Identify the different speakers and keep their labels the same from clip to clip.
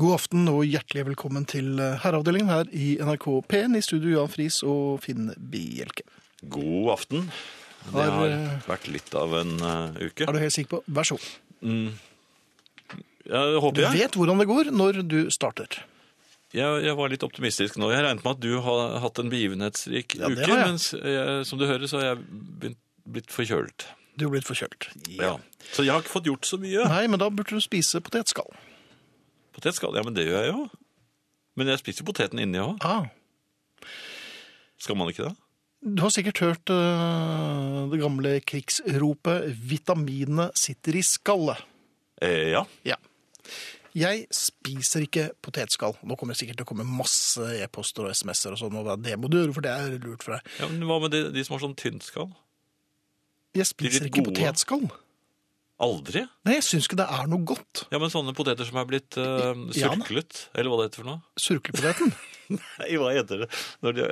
Speaker 1: God aften og hjertelig velkommen til eh, Herreavdelingen her i NRK P1. I studio Jan Friis og Finn Bjelke.
Speaker 2: God aften. Det
Speaker 1: Har,
Speaker 2: har
Speaker 1: eh,
Speaker 2: vært litt av en eh, uke.
Speaker 1: Er du helt sikker på? Vær så god.
Speaker 2: Ja, det
Speaker 1: Du
Speaker 2: håper jeg.
Speaker 1: vet hvordan det går når du starter.
Speaker 2: jeg. Jeg var litt optimistisk nå. Jeg regnet med at du har hatt en begivenhetsrik
Speaker 1: Ja, det
Speaker 2: uke,
Speaker 1: har jeg.
Speaker 2: mens jeg, som du hører, så har jeg begynt, blitt forkjølt.
Speaker 1: Du er blitt forkjølt.
Speaker 2: Ja. Så jeg har ikke fått gjort så mye.
Speaker 1: Nei, men da burde du spise potetskall.
Speaker 2: Potetskall, ja, men det gjør jeg jo. Men jeg spiser jo poteten inni òg.
Speaker 1: Ah,
Speaker 2: Skal man ikke det?
Speaker 1: du har sikkert hørt eh, det gamle krigsropet 'vitaminene sitter i skallet'.
Speaker 2: Eh, ja.
Speaker 1: Ja. Jeg spiser ikke potetskall. Nå kommer det sikkert til å komme masse e-poster og SMS-er og sånn, og hva- det må du gjøre, for det er lurt for deg.
Speaker 2: ja. Men hva med de, de som har sånn tynt skall?
Speaker 1: Jeg
Speaker 2: De
Speaker 1: spiser
Speaker 2: litt
Speaker 1: ikke
Speaker 2: gode.
Speaker 1: potetskall.
Speaker 2: Aldri?
Speaker 1: Nei, jeg syns ikke det er noe godt.
Speaker 2: Ja, men sånne poteter som er blitt eh,
Speaker 1: Ja, da.
Speaker 2: surklet, eller hva det heter for noe?
Speaker 1: Surklepoteten.
Speaker 2: Nei, hva heter det når de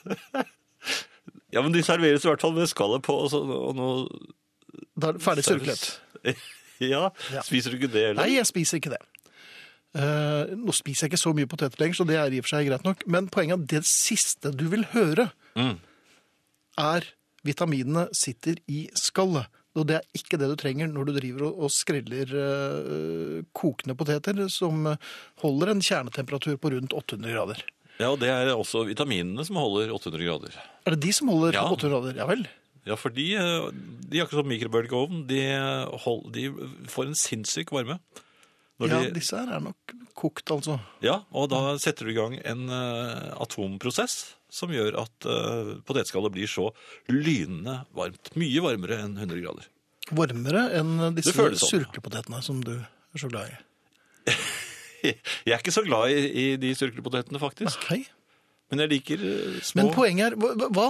Speaker 2: Ja, men de serveres i hvert fall med skallet på og, så, og noe
Speaker 1: Da er det ferdig surklet.
Speaker 2: ja.
Speaker 1: Ja.
Speaker 2: spiser du ikke det heller?
Speaker 1: Nei, jeg spiser ikke det. Eh, nå spiser jeg ikke så mye poteter lenger, så det er i og for seg greit nok. Men poenget er at det siste du vil høre,
Speaker 2: Mm.
Speaker 1: er vitaminene sitter i skallet. Og det er ikke det du trenger når du driver og, og skreller eh, kokende poteter som eh, holder en kjernetemperatur på rundt 800 grader.
Speaker 2: Ja, og det er også vitaminene som holder 800 grader.
Speaker 1: Er det de som holder
Speaker 2: Ja.
Speaker 1: 800 grader? Ja vel.
Speaker 2: Ja, for de, eh, de er ikke som mikrobølgeovn. De, hold, de får en sinnssyk varme. Når
Speaker 1: Ja,
Speaker 2: de,
Speaker 1: disse her er nok kokt, altså.
Speaker 2: ja, og da setter du i gang en eh, atomprosess som gjør at uh, potetskallet blir så lynende varmt. Mye varmere enn 100 grader.
Speaker 1: Varmere enn disse
Speaker 2: Det føles sånn, ja.
Speaker 1: surklepotetene som du er så glad i.
Speaker 2: Jeg er ikke så glad i, i de surklepotetene, faktisk.
Speaker 1: Hei.
Speaker 2: Men jeg liker eh, små
Speaker 1: Men poenget er, hva- hva,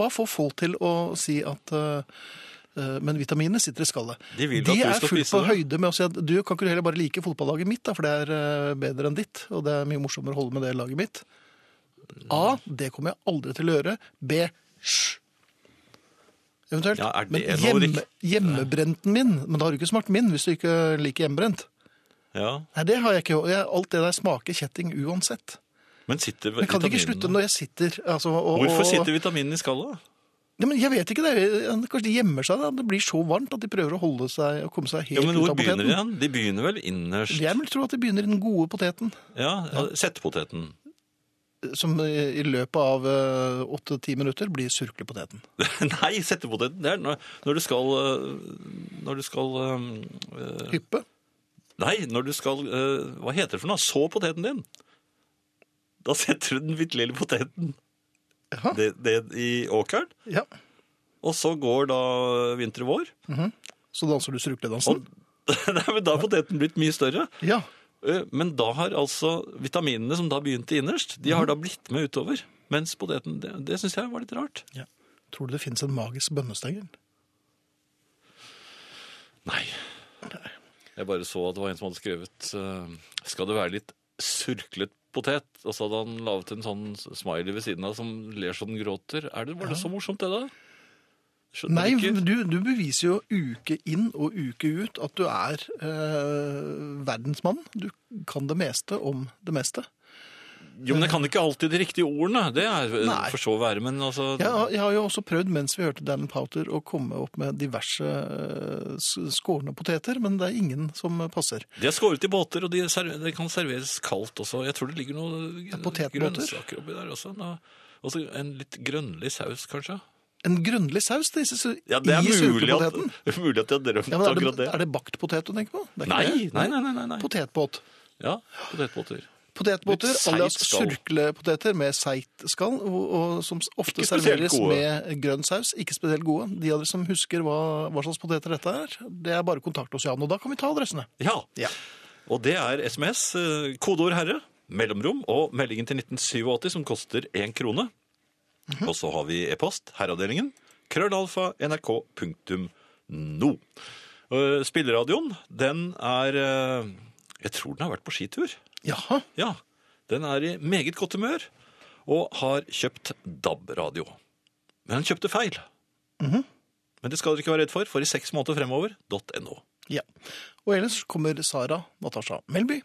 Speaker 1: hva får folk til å si at eh, eh, men vitaminene sitter i skallet.
Speaker 2: De vil at du
Speaker 1: er
Speaker 2: skal
Speaker 1: fullt
Speaker 2: spise
Speaker 1: på
Speaker 2: det.
Speaker 1: høyde med å si at du kan ikke du heller bare like fotballaget mitt, da, for det er eh, bedre enn ditt, og det er mye morsommere å holde med det laget mitt. A. Det kommer jeg aldri til å gjøre. B. Hysj. Eventuelt.
Speaker 2: Ja, er det
Speaker 1: men
Speaker 2: noe
Speaker 1: hjemme,
Speaker 2: rikt-
Speaker 1: hjemmebrenten min, men da har du ikke smakt min hvis du ikke liker hjemmebrent.
Speaker 2: Ja,
Speaker 1: Nei, det har jeg ikke. og jeg- Alt det der smaker kjetting uansett.
Speaker 2: men sitter
Speaker 1: Men kan det ikke
Speaker 2: vitaminene-
Speaker 1: slutte når jeg sitter altså, og,
Speaker 2: Hvorfor
Speaker 1: og-
Speaker 2: sitter vitaminene i skallet?
Speaker 1: Ja, men jeg vet ikke det. Kanskje de gjemmer seg da. Det blir så varmt at de prøver å holde seg og komme seg helt
Speaker 2: Ja, men
Speaker 1: ut
Speaker 2: hvor
Speaker 1: av
Speaker 2: begynner
Speaker 1: poteten.
Speaker 2: de igjen? De begynner vel innerst.
Speaker 1: Jeg vil tro at de begynner i den gode poteten,
Speaker 2: Ja, ja, settepoteten.
Speaker 1: som i i løpet av eh, åtte-ti minutter blir surklepoteten.
Speaker 2: Nei, settepoteten, det er når, når du skal øh, Når du skal øh, øh,
Speaker 1: Hyppe.
Speaker 2: Nei, når du skal øh, Hva heter det for noe? Så poteten din. Da setter du den bitte lille poteten
Speaker 1: Jaha.
Speaker 2: det, det i åkeren,
Speaker 1: Ja.
Speaker 2: og så går da vinter og vår.
Speaker 1: Så danser du surkledansen.
Speaker 2: Nei, men da har poteten blitt mye større.
Speaker 1: Ja.
Speaker 2: Eh, Men da har altså vitaminene som da begynte innerst, de har da blitt med utover. Mens poteten, det, det syns jeg var litt rart.
Speaker 1: ja. Tror du det finnes en magisk bønnestenger?
Speaker 2: Nei. Jeg bare så at det var en som hadde skrevet eh, Skal det være litt surklet potet? Og så hadde han laget en sånn smiley ved siden av som ler som den gråter. Er det, var det så morsomt, det da? Skjønner
Speaker 1: Nei,
Speaker 2: ikke.
Speaker 1: du, du beviser jo uke inn og uke ut at du er eh, verdensmann. Du kan det meste om det meste.
Speaker 2: Jo, men jeg kan ikke alltid de riktige ordene. Det er
Speaker 1: Nei.
Speaker 2: for så å være, men altså
Speaker 1: Jeg, har- jeg har jo også prøvd, mens vi hørte Danny Powter, å komme opp med diverse eh, s- skårne poteter, men det er ingen som passer.
Speaker 2: De er skåret i båter, og de, server, de kan serveres kaldt også. Jeg tror det ligger noen
Speaker 1: potetbåter.
Speaker 2: grønnsaker oppi der også. Nå- Og så en litt grønnlig saus, kanskje.
Speaker 1: En grønnlig saus det er i
Speaker 2: Ja, Det er mulig at,
Speaker 1: surpepoteten.
Speaker 2: mulig at de har drømt
Speaker 1: Ja, men er,
Speaker 2: akkurat
Speaker 1: det,
Speaker 2: det.
Speaker 1: er det bakt potet du tenker på? Det er ikke
Speaker 2: Nei,
Speaker 1: det.
Speaker 2: nei, nei. nei, nei, nei.
Speaker 1: Potetbåt.
Speaker 2: Ja, potetbåter.
Speaker 1: Potetbåter
Speaker 2: Litt seigt
Speaker 1: alias
Speaker 2: skall.
Speaker 1: surklepoteter med seigt skall, og, og som ofte
Speaker 2: Ikke spesielt
Speaker 1: serveres
Speaker 2: gode.
Speaker 1: med grønn saus. Ikke spesielt gode. De av dere som husker hva, hva slags poteter dette er, det er bare kontakt hos Jan, og da kan vi ta adressene.
Speaker 2: Ja.
Speaker 1: Ja.
Speaker 2: Og det er SMS, eh, kodeord herre, mellomrom og meldingen til 1987 som koster én krone. Og så har vi e-post, herreavdelingen, krøllalfa nrk.no. Eh, Spilleradioen, den er eh, Jeg tror den har vært på skitur.
Speaker 1: Jaha.
Speaker 2: Ja. Den er i meget godt humør og har kjøpt DAB-radio. Men den kjøpte feil. Men det skal dere ikke være redd for, for i seks måneder fremover .no.
Speaker 1: Ja. Og ellers kommer Sara Natasha Melby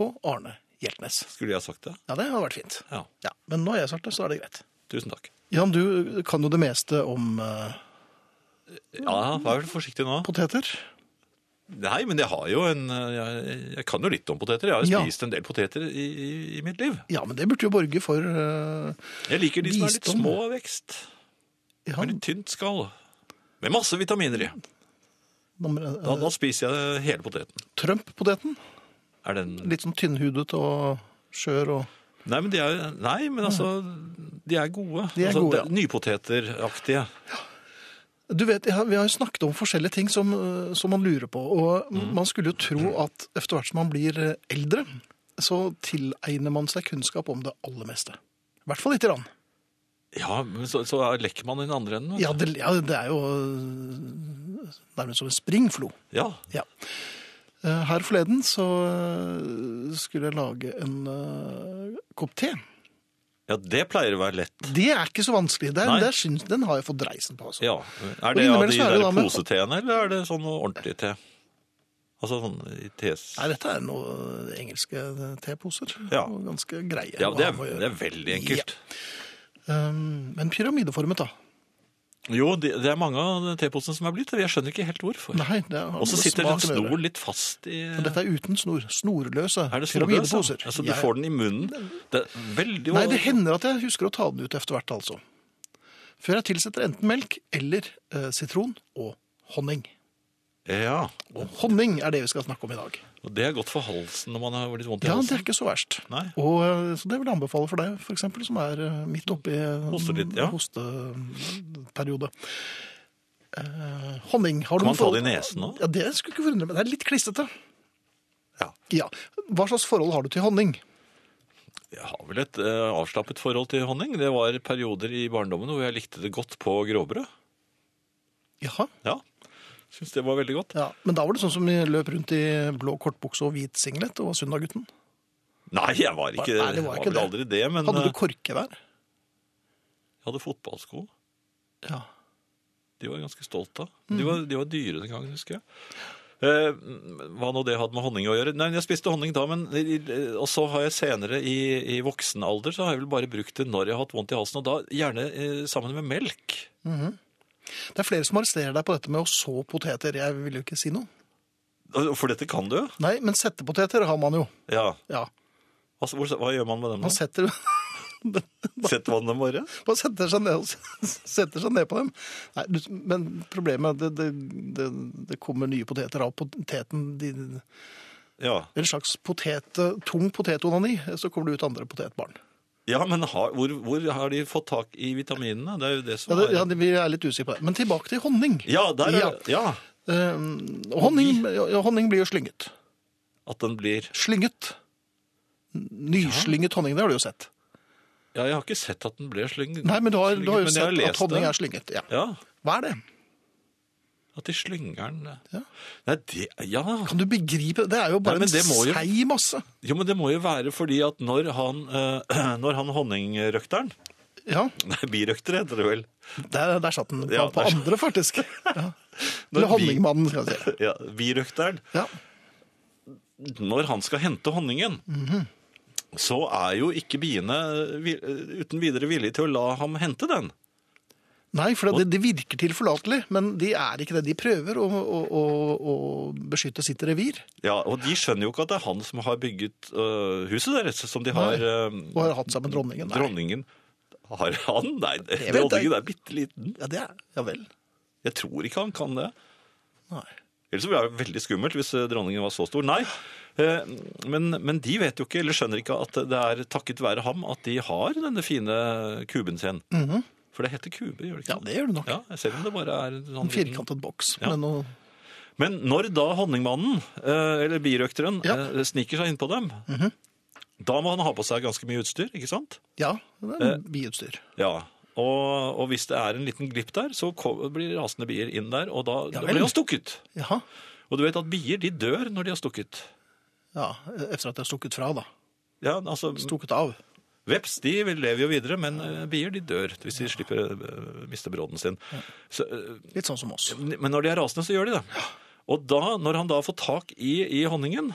Speaker 1: og Arne Hjeltnes.
Speaker 2: Skulle jeg ha sagt det?
Speaker 1: Ja, det hadde vært fint.
Speaker 2: Ja.
Speaker 1: Ja, Men nå har jeg sagt det, så er det greit.
Speaker 2: Tusen takk.
Speaker 1: Jan, du kan jo det meste om eh,
Speaker 2: Ja, vær vel forsiktig nå.
Speaker 1: poteter.
Speaker 2: Nei, men jeg har jo en Jeg, jeg kan jo litt om poteter. Jeg har jo
Speaker 1: Ja.
Speaker 2: spist en del poteter i, i, i mitt liv.
Speaker 1: Ja, men det burde jo borge for eh,
Speaker 2: Jeg liker de som er litt
Speaker 1: Visdom.
Speaker 2: små av vekst.
Speaker 1: ja,
Speaker 2: Med litt tynt skall. Med masse vitaminer i.
Speaker 1: nummer, eh,
Speaker 2: Da, da spiser jeg hele poteten.
Speaker 1: Trump-poteten.
Speaker 2: Er den
Speaker 1: Litt sånn tynnhudet og skjør og
Speaker 2: Nei, men de er, nei, men altså, de er gode.
Speaker 1: De er
Speaker 2: altså,
Speaker 1: gode,
Speaker 2: det- Nypoteteraktige.
Speaker 1: Du vet, ja, Vi har jo snakket om forskjellige ting som, eh, som man lurer på. Og man skulle jo tro at etter hvert som man blir eh, eldre, så tilegner man seg kunnskap om det aller meste. I hvert fall lite grann.
Speaker 2: Ja, men så, så er- lekker man i den andre enden. vet
Speaker 1: Ja, det, ja, det er jo eh, nærmest som en springflo.
Speaker 2: du. Ja.
Speaker 1: Ja. Eh, Her forleden så eh, skulle jeg lage en eh, kopp te.
Speaker 2: ja, det pleier å være lett.
Speaker 1: Det er ikke så vanskelig. Det,
Speaker 2: Nei.
Speaker 1: er- det syns, den har jeg fått dreisen på. Altså.
Speaker 2: Ja. Er det av
Speaker 1: innimellom
Speaker 2: de
Speaker 1: så er det
Speaker 2: der
Speaker 1: da med-
Speaker 2: poseteene, eller er det sånn ordentlig te? Altså sånn i tes...
Speaker 1: Nei, dette er noen engelske teposer.
Speaker 2: Ja.
Speaker 1: og Ganske greie.
Speaker 2: Ja,
Speaker 1: å
Speaker 2: det er,
Speaker 1: ha med å gjøre.
Speaker 2: det er veldig enkelt.
Speaker 1: Um, Men pyramideformet, da.
Speaker 2: Jo, det, det er mange av teposene som er blitt det. Jeg skjønner ikke helt hvorfor.
Speaker 1: Nei, det er
Speaker 2: Og så
Speaker 1: det
Speaker 2: sitter den
Speaker 1: smaken å gjøre.
Speaker 2: snor litt fast i
Speaker 1: Men Dette er uten snor. Snorløse
Speaker 2: Er det snor, altså?
Speaker 1: pyramideposer.
Speaker 2: Altså, du
Speaker 1: Jeg-
Speaker 2: får den i munnen. Det er veldig
Speaker 1: Nei, det hender at jeg husker å ta den ut etter hvert, altså. Før jeg tilsetter enten melk eller eh, sitron og honning.
Speaker 2: Ja.
Speaker 1: Og honning er det vi skal snakke om i dag.
Speaker 2: Og det er godt for halsen når man har litt vondt i
Speaker 1: Ja, det
Speaker 2: halsen.
Speaker 1: er ikke så verst.
Speaker 2: Nei.
Speaker 1: Og, eh, så det vil jeg anbefale for deg, for eksempel, som er eh, midt oppi eh,
Speaker 2: Hoster litt, ja.
Speaker 1: hosteperiode. Eh, honning har
Speaker 2: Kan
Speaker 1: du noe
Speaker 2: man ta
Speaker 1: forhold-
Speaker 2: det i nesen også?
Speaker 1: Ja, det skulle ikke forundre meg. Det er litt klissete.
Speaker 2: Ja.
Speaker 1: Ja. Hva slags forhold har du til honning?
Speaker 2: Jeg har vel et eh, avslappet forhold til honning. Det var perioder i barndommen hvor jeg likte det godt på gråbrød.
Speaker 1: Jaha.
Speaker 2: Ja, synes det var veldig godt.
Speaker 1: Ja, men da var det sånn som vi løp rundt i blå kortbukse og hvit singlet og var Sundaggutten.
Speaker 2: Nei, jeg var ikke,
Speaker 1: Nei, det var ikke
Speaker 2: jeg vel
Speaker 1: det.
Speaker 2: aldri det, men
Speaker 1: Hadde du
Speaker 2: eh,
Speaker 1: korkevær?
Speaker 2: jeg hadde fotballsko.
Speaker 1: Ja.
Speaker 2: De var jeg ganske stolt av. De
Speaker 1: Mm.
Speaker 2: var, de var dyre den gangen, husker jeg. Eh, hva nå det hadde med honning å gjøre? Nei, jeg spiste honning da, men i- i- og så har jeg senere i, i voksen alder så har jeg vel bare brukt det når jeg har hatt vondt i halsen, og da gjerne eh, sammen med melk.
Speaker 1: Det er flere som arresterer deg på dette med å så poteter. Jeg vil jo ikke si noe.
Speaker 2: For dette kan du?
Speaker 1: Nei, men sette poteter har man jo.
Speaker 2: Ja.
Speaker 1: Ja.
Speaker 2: Altså, hvor, hva gjør man med dem
Speaker 1: Man
Speaker 2: nå?
Speaker 1: setter
Speaker 2: Setter man dem bare?
Speaker 1: Man setter seg ned, og setter seg ned på dem. Nei, du, men problemet er at det, det, det, det kommer nye poteter av poteten. De,
Speaker 2: Ja.
Speaker 1: en slags potet, tung potetonani, så kommer det ut andre potetbarn.
Speaker 2: Ja, men har, hvor, hvor har de fått tak i vitaminene? Det er jo det som
Speaker 1: Ja, det,
Speaker 2: er
Speaker 1: ja, det- vi er litt usikre på det. Men tilbake til honning.
Speaker 2: Ja, der er
Speaker 1: Ja.
Speaker 2: det. Ja.
Speaker 1: Eh, honning, ja, honning blir jo slynget.
Speaker 2: At den blir
Speaker 1: Slynget. Nyslynget honning, det har du jo sett.
Speaker 2: Ja, jeg har ikke sett at den ble slynget.
Speaker 1: Nei, men du har, du har jo
Speaker 2: men jeg
Speaker 1: sett at
Speaker 2: lest
Speaker 1: honning
Speaker 2: det.
Speaker 1: er slynget. Ja.
Speaker 2: Ja.
Speaker 1: Hva er det?
Speaker 2: At de slynger den
Speaker 1: Ja.
Speaker 2: Nei, det Ja.
Speaker 1: Kan du begripe? Det er jo bare
Speaker 2: Nei, men det
Speaker 1: en
Speaker 2: må jo-
Speaker 1: seig masse.
Speaker 2: Jo, men det må jo være fordi at når han, eh, når han honningrøkteren
Speaker 1: Ja.
Speaker 2: Nei, birøkter heter det vel.
Speaker 1: Der, der satt den på,
Speaker 2: Ja,
Speaker 1: på
Speaker 2: der satt-
Speaker 1: andre, faktisk. Ja.
Speaker 2: Når
Speaker 1: Eller
Speaker 2: vi-
Speaker 1: honningmannen, skal jeg si.
Speaker 2: Ja, birøkteren.
Speaker 1: Ja.
Speaker 2: Når han skal hente honningen,
Speaker 1: Mhm.
Speaker 2: så er jo ikke biene eh, vi- eh, uten videre villige til å la ham hente den.
Speaker 1: Nei, for det, det virker tilforlatelig, men de er ikke det. De prøver å, å, å, å beskytte sitt revir,
Speaker 2: Ja, og de skjønner jo ikke at det er han som har bygget øh, huset deres, som de har øh,
Speaker 1: og har hatt sammen dronningen. Nei.
Speaker 2: Dronningen Har han? Nei,
Speaker 1: vet
Speaker 2: dronningen
Speaker 1: jeg.
Speaker 2: er bitte liten.
Speaker 1: Ja, det er Ja vel.
Speaker 2: Jeg tror ikke han kan det.
Speaker 1: Nei.
Speaker 2: Ellers ville det vært veldig skummelt hvis øh, dronningen var så stor. Nei, eh, men, men de vet jo ikke, eller skjønner ikke, at det er takket være ham at de har denne fine kuben sin. For det heter kube, gjør det
Speaker 1: Mhm.
Speaker 2: ikke?
Speaker 1: Ja, det gjør du nok.
Speaker 2: Ja, selv om det bare er en sånn
Speaker 1: En
Speaker 2: liten-
Speaker 1: firkantet boks
Speaker 2: Ja.
Speaker 1: med noe
Speaker 2: Men når da honningmannen, eh, eller birøkteren,
Speaker 1: Ja. Mhm.
Speaker 2: eh, sniker seg inn på dem, da må han ha på seg ganske mye utstyr, ikke sant?
Speaker 1: Ja, det er
Speaker 2: Eh.
Speaker 1: biutstyr.
Speaker 2: Ja. Og, og hvis det er en liten glipp der, så ko- blir rasende bier inn der, og da,
Speaker 1: Ja
Speaker 2: da
Speaker 1: vel.
Speaker 2: blir han stukket.
Speaker 1: Jaha.
Speaker 2: Og du vet at bier, de dør når de har stukket.
Speaker 1: Ja, Etter at jeg er stukket fra, da.
Speaker 2: Ja, altså,
Speaker 1: Stukket av.
Speaker 2: Veps de vil- lever jo videre, men eh, bier de dør hvis de slipper eh, miste brodden sin. Så, eh,
Speaker 1: Litt sånn som oss.
Speaker 2: Men når de er rasende, så gjør de det. Og da, når han da får tak i, i honningen,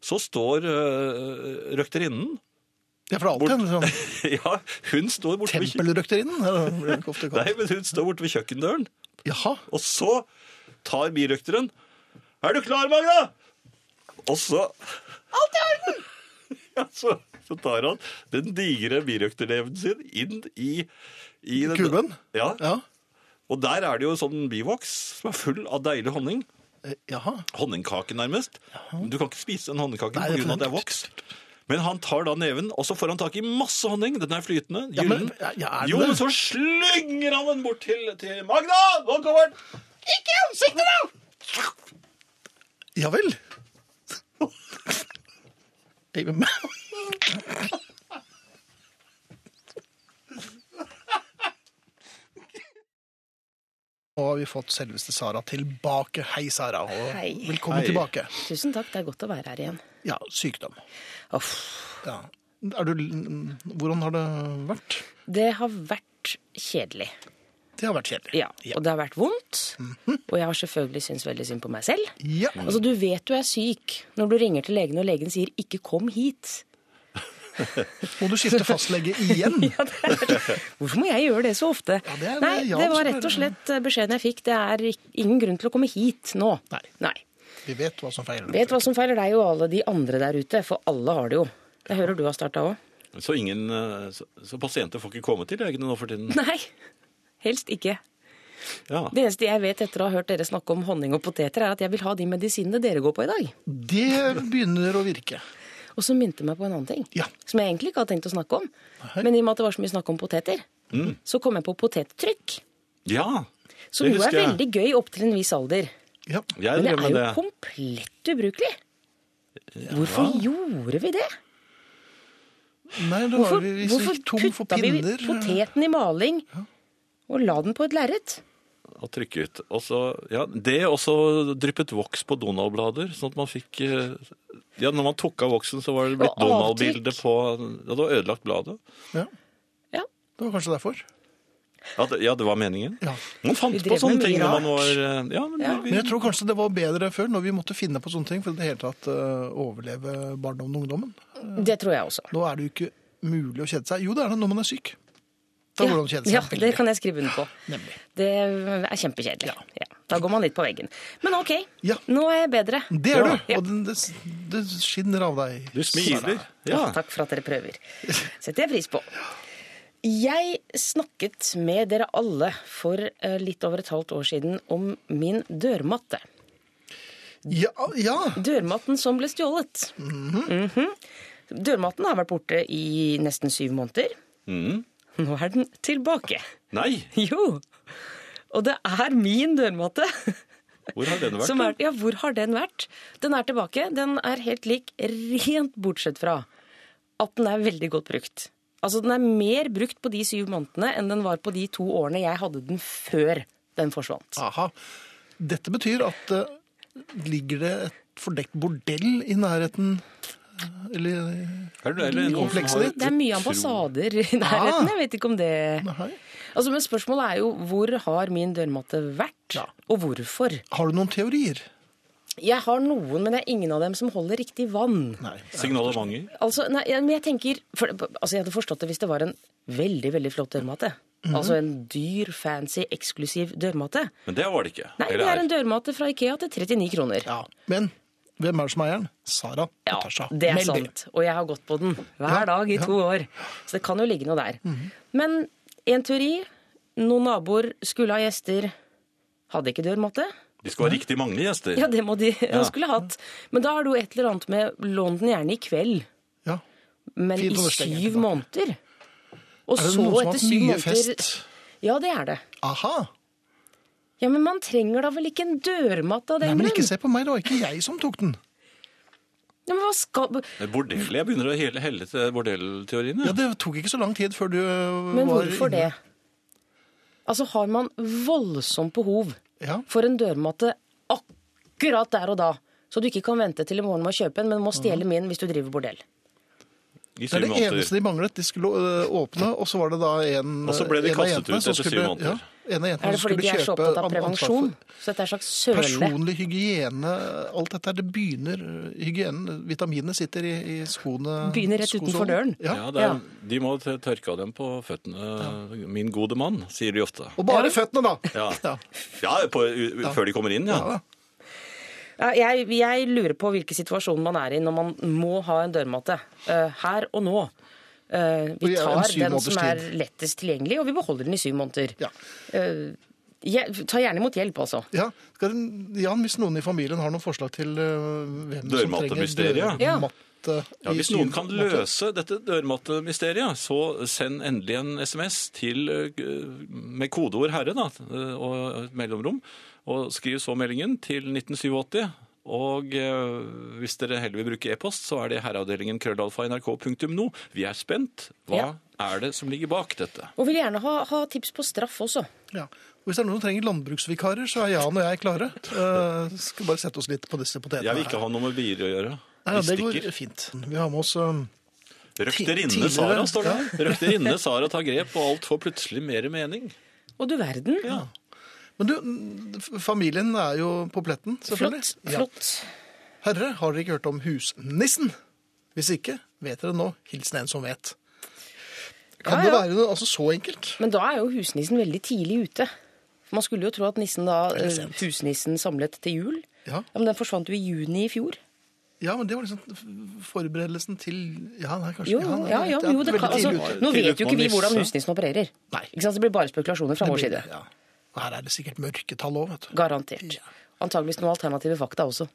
Speaker 2: Så står øh, røkterinnen
Speaker 1: Ja, for det er alltid en sånn
Speaker 2: Ja, hun står borte ved, kjø-
Speaker 1: tempelrøkterinnen. eller hva det ofte kalles.
Speaker 2: Nei, men hun står borte ved kjøkkendøren.
Speaker 1: Jaha.
Speaker 2: Og så tar birøkteren Er du klar, Magda? Og så Alt i orden! ja, så, så tar han den digre birøkterneven sin inn i, i den-
Speaker 1: Kuben?
Speaker 2: Ja,
Speaker 1: Ja.
Speaker 2: Og der er det jo sånn bivoks som er full av deilig honning.
Speaker 1: Eh, Jaha.
Speaker 2: Honningkake, nærmest. Men Du kan ikke spise en honningkake
Speaker 1: Nei, det er
Speaker 2: pga. at det er
Speaker 1: for-
Speaker 2: voks. Men han tar da neven, og så får han tak i masse honning. Den er flytende.
Speaker 1: Ja, men,
Speaker 2: gyllen.
Speaker 1: ja, ja, er det
Speaker 2: jo,
Speaker 1: det?
Speaker 2: men så slynger han den bort til, til Magda! Nå kommer den! Ikke i ansiktet, da!
Speaker 1: Ja vel. Jeg- men- Nå har vi fått selveste Sara tilbake. Hei, Sara, og
Speaker 3: Hei.
Speaker 1: velkommen
Speaker 2: Hei.
Speaker 1: tilbake.
Speaker 3: Tusen takk, det er godt å være her igjen.
Speaker 1: Ja, sykdom.
Speaker 3: Uff.
Speaker 1: Ja. Er du, hvordan har det vært?
Speaker 3: Det har vært kjedelig.
Speaker 1: Det har vært kjedelig.
Speaker 3: Ja. Og det har vært vondt. Og jeg har selvfølgelig syntes veldig synd på meg selv.
Speaker 1: Ja.
Speaker 3: Altså, Du vet du er syk når du ringer til legen og legen sier 'ikke kom hit'.
Speaker 1: Må du skifte fastlege igjen?
Speaker 3: Ja, det er, hvorfor må jeg gjøre det så ofte?
Speaker 1: Ja, det er det
Speaker 3: Nei,
Speaker 1: Jan
Speaker 3: det
Speaker 1: som
Speaker 3: var rett
Speaker 1: gjør.
Speaker 3: og slett eh, beskjeden jeg fikk. Det er ikk- ingen grunn til å komme hit nå.
Speaker 1: Nei.
Speaker 3: Nei.
Speaker 1: Vi vet hva som feiler.
Speaker 3: Vet hva som feiler deg og alle de andre der ute, for alle har det jo. Jeg hører du har starta òg.
Speaker 2: Så, ingen, eh, så, så pasienter får ikke komme til legene nå for tiden?
Speaker 3: Nei, helst ikke.
Speaker 2: Ja.
Speaker 3: Det eneste jeg vet etter å ha hørt dere snakke om honning og poteter, er at jeg vil ha de medisinene dere går på i dag.
Speaker 1: Det begynner å virke.
Speaker 3: Og så minte meg på en annen ting,
Speaker 1: Ja.
Speaker 3: som jeg egentlig ikke hadde tenkt å snakke om.
Speaker 1: Nei. Mm.
Speaker 3: Men i og med at det var så mye snakk om poteter, så kom jeg på potettrykk.
Speaker 2: ja.
Speaker 3: Som jo er
Speaker 2: husker jeg.
Speaker 3: veldig gøy opp til en viss alder.
Speaker 1: Ja.
Speaker 2: Jeg
Speaker 3: Men det
Speaker 2: driver
Speaker 3: er
Speaker 2: med
Speaker 3: jo
Speaker 2: det.
Speaker 3: komplett ubrukelig. Hvorfor gjorde vi det?
Speaker 1: Nei, da var
Speaker 3: Hvorfor,
Speaker 1: vi, vi
Speaker 3: hvorfor
Speaker 1: gikk tom for
Speaker 3: putta vi
Speaker 1: pinner.
Speaker 3: poteten i maling og la den på et lerret?
Speaker 2: Og trykke ut. Og så- ja, det også dryppet voks på Donald-blader, sånn at man fikk eh, Ja, når man tok av voksen, så var det blitt
Speaker 3: Og avtrykk.
Speaker 2: Donald-bilde på Ja, det var ødelagt bladet.
Speaker 1: Ja,
Speaker 3: Ja.
Speaker 1: det var kanskje derfor.
Speaker 2: Ja, det, ja, det var meningen.
Speaker 1: Ja.
Speaker 2: Man fant
Speaker 3: Vi
Speaker 2: på
Speaker 3: drev
Speaker 2: sånne
Speaker 3: med
Speaker 2: ting
Speaker 3: mye
Speaker 2: når man var
Speaker 3: rart.
Speaker 2: eh, Ja, men
Speaker 3: Ja.
Speaker 2: Vi,
Speaker 1: Men jeg tror kanskje det var bedre før, når vi måtte finne på sånne ting for i det hele tatt eh, overleve barndommen og ungdommen.
Speaker 3: Det tror jeg også.
Speaker 1: Nå er det jo ikke mulig å kjede seg. Jo, det er det når man er syk. Da går det an å kjede seg
Speaker 3: ja, det kan jeg skrive under på.
Speaker 1: Nemlig.
Speaker 3: Det er kjempekjedelig. Ja. Da går man litt på veggen. Men OK,
Speaker 1: Ja.
Speaker 3: nå er jeg bedre.
Speaker 1: Det er
Speaker 2: Ja.
Speaker 1: du! Og den, det, det skinner av deg.
Speaker 2: du smiler.
Speaker 3: Ja.
Speaker 2: Ja.
Speaker 3: Takk for at dere prøver. Setter jeg pris på. Jeg snakket med dere alle for eh, litt over et halvt år siden om min dørmatte.
Speaker 1: Ja, ja.
Speaker 3: Dørmatten som ble stjålet. Mhm. Dørmatten har vært borte i nesten syv måneder. Nå er den tilbake.
Speaker 2: Nei,
Speaker 3: Jo! Og det er min dørmatte.
Speaker 2: hvor har den vært?
Speaker 3: Som er, ja, hvor har den vært? Den er tilbake. Den er helt lik, rent bortsett fra at den er veldig godt brukt. Altså, den er mer brukt på de syv månedene enn den var på de to årene jeg hadde den før den forsvant.
Speaker 1: Aha. Dette betyr at eh, ligger det et fordekt bordell i nærheten? eh, Eller
Speaker 2: Er det- eller noen som
Speaker 1: Komplekset
Speaker 2: har
Speaker 1: ditt?
Speaker 2: et
Speaker 3: Det er mye
Speaker 2: tro-
Speaker 3: ambassader i nærheten. Jeg vet ikke om det
Speaker 1: Nei.
Speaker 3: Altså, men spørsmålet er jo hvor har min dørmatte vært,
Speaker 1: Ja.
Speaker 3: og hvorfor?
Speaker 1: Har du noen teorier?
Speaker 3: Jeg har noen, men det er ingen av dem som holder riktig vann.
Speaker 1: Nei.
Speaker 2: Signalementer.
Speaker 3: Altså, nei, ja, men jeg tenker for, altså, Jeg hadde forstått det hvis det var en veldig, veldig flott dørmatte. Altså en dyr, fancy, eksklusiv dørmatte.
Speaker 2: Men det var det ikke.
Speaker 3: Nei,
Speaker 2: Eller
Speaker 3: det er en dørmatte fra Ikea til 39 kroner.
Speaker 1: Ja. Men hvem er det som er eieren? Sara
Speaker 3: Ja,
Speaker 1: Natasha
Speaker 3: det er
Speaker 1: Melby.
Speaker 3: sant. Og jeg har gått på den hver
Speaker 1: Ja,
Speaker 3: dag i
Speaker 1: ja.
Speaker 3: to år. Så det kan jo ligge noe der. Men en teori noen naboer skulle ha gjester, hadde ikke dørmatte.
Speaker 2: De skal ha riktig mange gjester.
Speaker 3: Ja, det må de de skulle hatt. Men da har du et eller annet med lån den gjerne i kveld,
Speaker 1: Ja.
Speaker 3: men
Speaker 1: Fint
Speaker 3: i
Speaker 1: å bestenge
Speaker 3: syv
Speaker 1: tilbake.
Speaker 3: måneder. Og
Speaker 1: Er det
Speaker 3: så
Speaker 1: noen som har
Speaker 3: etter
Speaker 1: hatt
Speaker 3: syv
Speaker 1: mye
Speaker 3: måneder
Speaker 1: fest?
Speaker 3: Ja, det er det.
Speaker 1: Aha!
Speaker 3: Ja, Men man trenger da vel ikke en dørmatte av
Speaker 1: Nei,
Speaker 3: den
Speaker 1: men ikke
Speaker 3: grunn?
Speaker 1: se på meg, det var ikke jeg som tok den.
Speaker 3: Ja, men hva skal...
Speaker 2: Bordell. Jeg begynner å hele, helle til bordellteoriene.
Speaker 1: Ja, Det tok ikke så lang tid før du øh,
Speaker 3: Men
Speaker 1: var
Speaker 3: hvorfor det?
Speaker 1: inne.
Speaker 3: Altså, har man voldsomt behov
Speaker 1: Ja.
Speaker 3: for en dørmatte akkurat der og da, så du ikke kan vente til i morgen med å kjøpe en, men må stjele min hvis du driver bordell?
Speaker 2: I
Speaker 1: Det
Speaker 2: syv
Speaker 1: er det
Speaker 2: måneder.
Speaker 1: eneste de manglet. De skulle øh, åpne, og så var det da en
Speaker 2: Og så ble de
Speaker 1: en av
Speaker 2: kastet
Speaker 1: jentene
Speaker 2: ut
Speaker 1: som
Speaker 2: etter syv
Speaker 1: skulle-
Speaker 2: måneder.
Speaker 1: Ja, en av jentene
Speaker 3: Er det
Speaker 1: som
Speaker 3: fordi
Speaker 1: skulle
Speaker 3: de er så
Speaker 1: kjøpe
Speaker 3: opptatt av
Speaker 1: an- ansvar
Speaker 3: prevensjon?
Speaker 1: for-
Speaker 3: Så dette er en slags søle?
Speaker 1: Personlig hygiene, alt dette her, det begynner øh, Hygienen, vitaminene sitter i, i skoene.
Speaker 3: Begynner rett utenfor
Speaker 1: skosålen.
Speaker 3: døren.
Speaker 1: Ja.
Speaker 2: Ja, det er, De må t- tørke av dem på føttene, min gode mann, sier de ofte.
Speaker 1: Og bare føttene, da!
Speaker 2: Ja,
Speaker 1: Ja.
Speaker 2: ja, på, u, før de kommer inn, ja.
Speaker 1: Ja,
Speaker 3: Ja, jeg, jeg lurer på hvilken situasjon man er i når man må ha en dørmatte. eh, her og nå. Eh,
Speaker 1: Og
Speaker 3: vi
Speaker 1: i en
Speaker 3: tar
Speaker 1: syv
Speaker 3: den
Speaker 1: måneders
Speaker 3: som er
Speaker 1: tid.
Speaker 3: lettest tilgjengelig, og vi beholder den i syv måneder.
Speaker 1: Ja.
Speaker 3: Eh, jeg, ta gjerne imot hjelp, altså.
Speaker 1: Ja. Skal, Jan, hvis noen i familien har noen forslag til øh, hvem som trenger
Speaker 2: Dørmattemysteriet.
Speaker 3: Ja.
Speaker 1: dørmatte
Speaker 2: ja.
Speaker 1: i
Speaker 2: Hvis
Speaker 1: syv
Speaker 2: noen kan
Speaker 1: måneder.
Speaker 2: løse dette dørmattemysteriet, så send endelig en SMS til, eh, med kodeord 'herre' da, eh, og et mellomrom, og skriv så meldingen til 1987. Og eh, hvis dere heller vil bruke e-post, så er det herreavdelingen krøllalfa nrk.no. Vi er spent. Hva
Speaker 3: Ja.
Speaker 2: er det som ligger bak dette?
Speaker 3: Og vil gjerne ha, ha tips på straff også.
Speaker 1: Ja. Og Hvis det er noen som trenger landbruksvikarer, så er Jan og jeg klare. Eh, skal bare sette oss litt på disse potetene
Speaker 2: Jeg vil ikke
Speaker 1: her.
Speaker 2: ha noe med bier å gjøre.
Speaker 1: Nei, ja,
Speaker 2: De
Speaker 1: det går
Speaker 2: stikker.
Speaker 1: fint. Vi har med oss eh,
Speaker 2: Røkterinne
Speaker 1: tidligere,
Speaker 2: Sara, står det.
Speaker 1: ja.
Speaker 2: Røkterinne Sara tar grep, og alt får plutselig mer mening.
Speaker 3: Og du verden.
Speaker 1: Men du, n- f- familien er jo på pletten, selvfølgelig.
Speaker 3: flott. flott.
Speaker 1: Ja. Herre, har dere ikke hørt om husnissen? Hvis ikke, vet dere nå. Hilsen en som vet. Kan
Speaker 3: Ja, ja.
Speaker 1: det være noe altså, så enkelt?
Speaker 3: Men da er jo husnissen veldig tidlig ute. Man skulle jo tro at nissen da,
Speaker 1: Veldig
Speaker 3: eh,
Speaker 1: sent.
Speaker 3: husnissen samlet til jul.
Speaker 1: Ja.
Speaker 3: Ja, men den forsvant jo i juni i fjor.
Speaker 1: Ja, men det var liksom f- forberedelsen til Ja, nei, kanskje
Speaker 3: Jo,
Speaker 1: ja, nei,
Speaker 3: ja, ja,
Speaker 1: det er
Speaker 3: jo, det
Speaker 1: veldig
Speaker 3: kan, altså,
Speaker 1: tidlig ute.
Speaker 3: nå
Speaker 2: Tidlig
Speaker 3: vet jo
Speaker 2: på
Speaker 3: ikke vi
Speaker 2: nisse.
Speaker 3: hvordan husnissen opererer.
Speaker 1: Nei.
Speaker 3: Ikke sant? Det blir bare spekulasjoner fra vår side.
Speaker 1: Ja. Her er det sikkert mørketall òg, vet du.
Speaker 3: Garantert. Antageligvis noen alternative fakta også.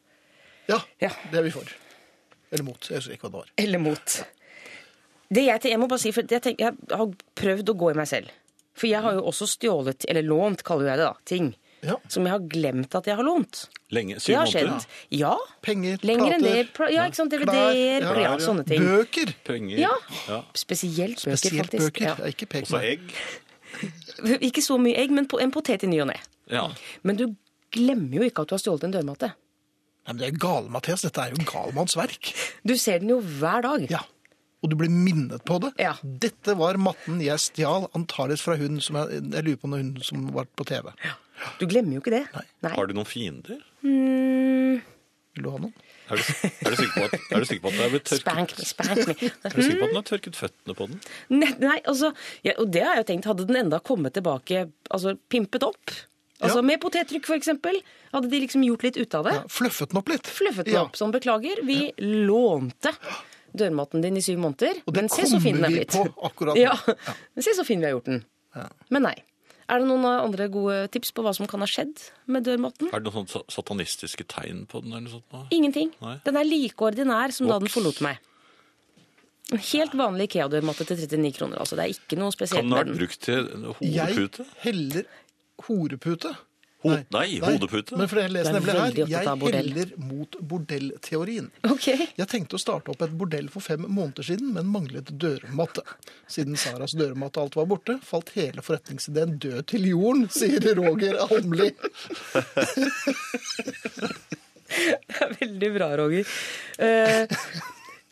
Speaker 1: Ja,
Speaker 3: Ja.
Speaker 1: det er vi for. Eller mot. Jeg husker ikke hva det var.
Speaker 3: Eller mot. Det jeg, jeg må bare si, for jeg, tenker, jeg har prøvd å gå i meg selv. For jeg har jo også stjålet, eller lånt, kaller jeg det da, ting.
Speaker 1: Ja.
Speaker 3: Som jeg har glemt at jeg har lånt.
Speaker 2: Lenge, syv
Speaker 3: Det har
Speaker 2: måneder.
Speaker 3: skjedd. Ja.
Speaker 1: Penger,
Speaker 3: Lenger enn
Speaker 1: plater,
Speaker 3: det. Pla- Ja, ikke sant.
Speaker 1: klær, ja,
Speaker 3: DVD-er, ja,
Speaker 2: klær, ja.
Speaker 3: sånne ting.
Speaker 1: Bøker!
Speaker 2: Penger.
Speaker 3: Ja.
Speaker 2: Ja.
Speaker 3: Spesielt bøker,
Speaker 1: Spesielt
Speaker 3: faktisk.
Speaker 1: bøker. Ja. Ikke pek
Speaker 2: Også
Speaker 1: meg.
Speaker 2: egg.
Speaker 3: Ja. Ikke så mye egg, men po- en potet i ny og ne.
Speaker 2: Ja.
Speaker 3: Men du glemmer jo ikke at du har stjålet en dørmatte.
Speaker 1: Nei, men det er gale, Mathias. Dette er jo galmannsverk.
Speaker 3: Du ser den jo hver dag.
Speaker 1: Ja. Og du blir minnet på det.
Speaker 3: Ja.
Speaker 1: Dette var matten jeg stjal, antakeligvis fra hun som jeg, jeg lurer på når hun som var på TV.
Speaker 3: Du glemmer jo ikke det. Nei.
Speaker 2: Har du noen fiender?
Speaker 1: Vil du ha noen?
Speaker 2: Er du, er du sikker på at, er du sikker på at den er blitt tørket?
Speaker 3: Spank me, spank me.
Speaker 2: Er du sikker på at den
Speaker 3: Hmm?
Speaker 2: har tørket føttene på den?
Speaker 3: Nei, nei altså, ja, og det har jeg jo tenkt, hadde den enda kommet tilbake, altså pimpet opp, altså
Speaker 1: Ja.
Speaker 3: med potettrykk for eksempel, hadde de liksom gjort litt ut av det,
Speaker 1: Ja, fluffet den opp litt.
Speaker 3: fluffet den
Speaker 1: Ja.
Speaker 3: opp som beklager, vi lånte dørmatten din i syv måneder,
Speaker 1: Og det
Speaker 3: men se så fin den
Speaker 1: kommer
Speaker 3: er
Speaker 1: vi
Speaker 3: blitt.
Speaker 1: på akkurat nå.
Speaker 3: Ja, men se så fin vi har gjort den. Men nei. Er det noen andre gode tips på hva som kan ha skjedd med dørmatten?
Speaker 2: Er det noen sånne sa- satanistiske tegn på den? eller noe sånt? nå?
Speaker 3: Ingenting.
Speaker 2: Nei.
Speaker 3: Den er like ordinær som da den
Speaker 2: Ops.
Speaker 3: forlot meg. En helt vanlig Ikea-dørmatte til 39 kroner. altså. Det er ikke noe spesielt
Speaker 2: Kan den ha
Speaker 3: med
Speaker 2: vært
Speaker 3: den.
Speaker 2: brukt til
Speaker 1: Jeg
Speaker 2: hodepute?
Speaker 1: heller horepute.
Speaker 2: Ho- nei, hodepute.
Speaker 1: Men for jeg leser
Speaker 3: Du er
Speaker 1: nemlig her,
Speaker 3: veldig opptatt
Speaker 1: jeg
Speaker 3: av bordell.
Speaker 1: heller mot bordellteorien.
Speaker 3: Ok.
Speaker 1: Jeg tenkte å starte opp et bordell for fem måneder siden, men manglet dørmatte. Siden Saras dørmatte og alt var borte, falt hele forretningsideen død til jorden, sier Roger Almli.
Speaker 3: Det er veldig bra, Roger. Eh,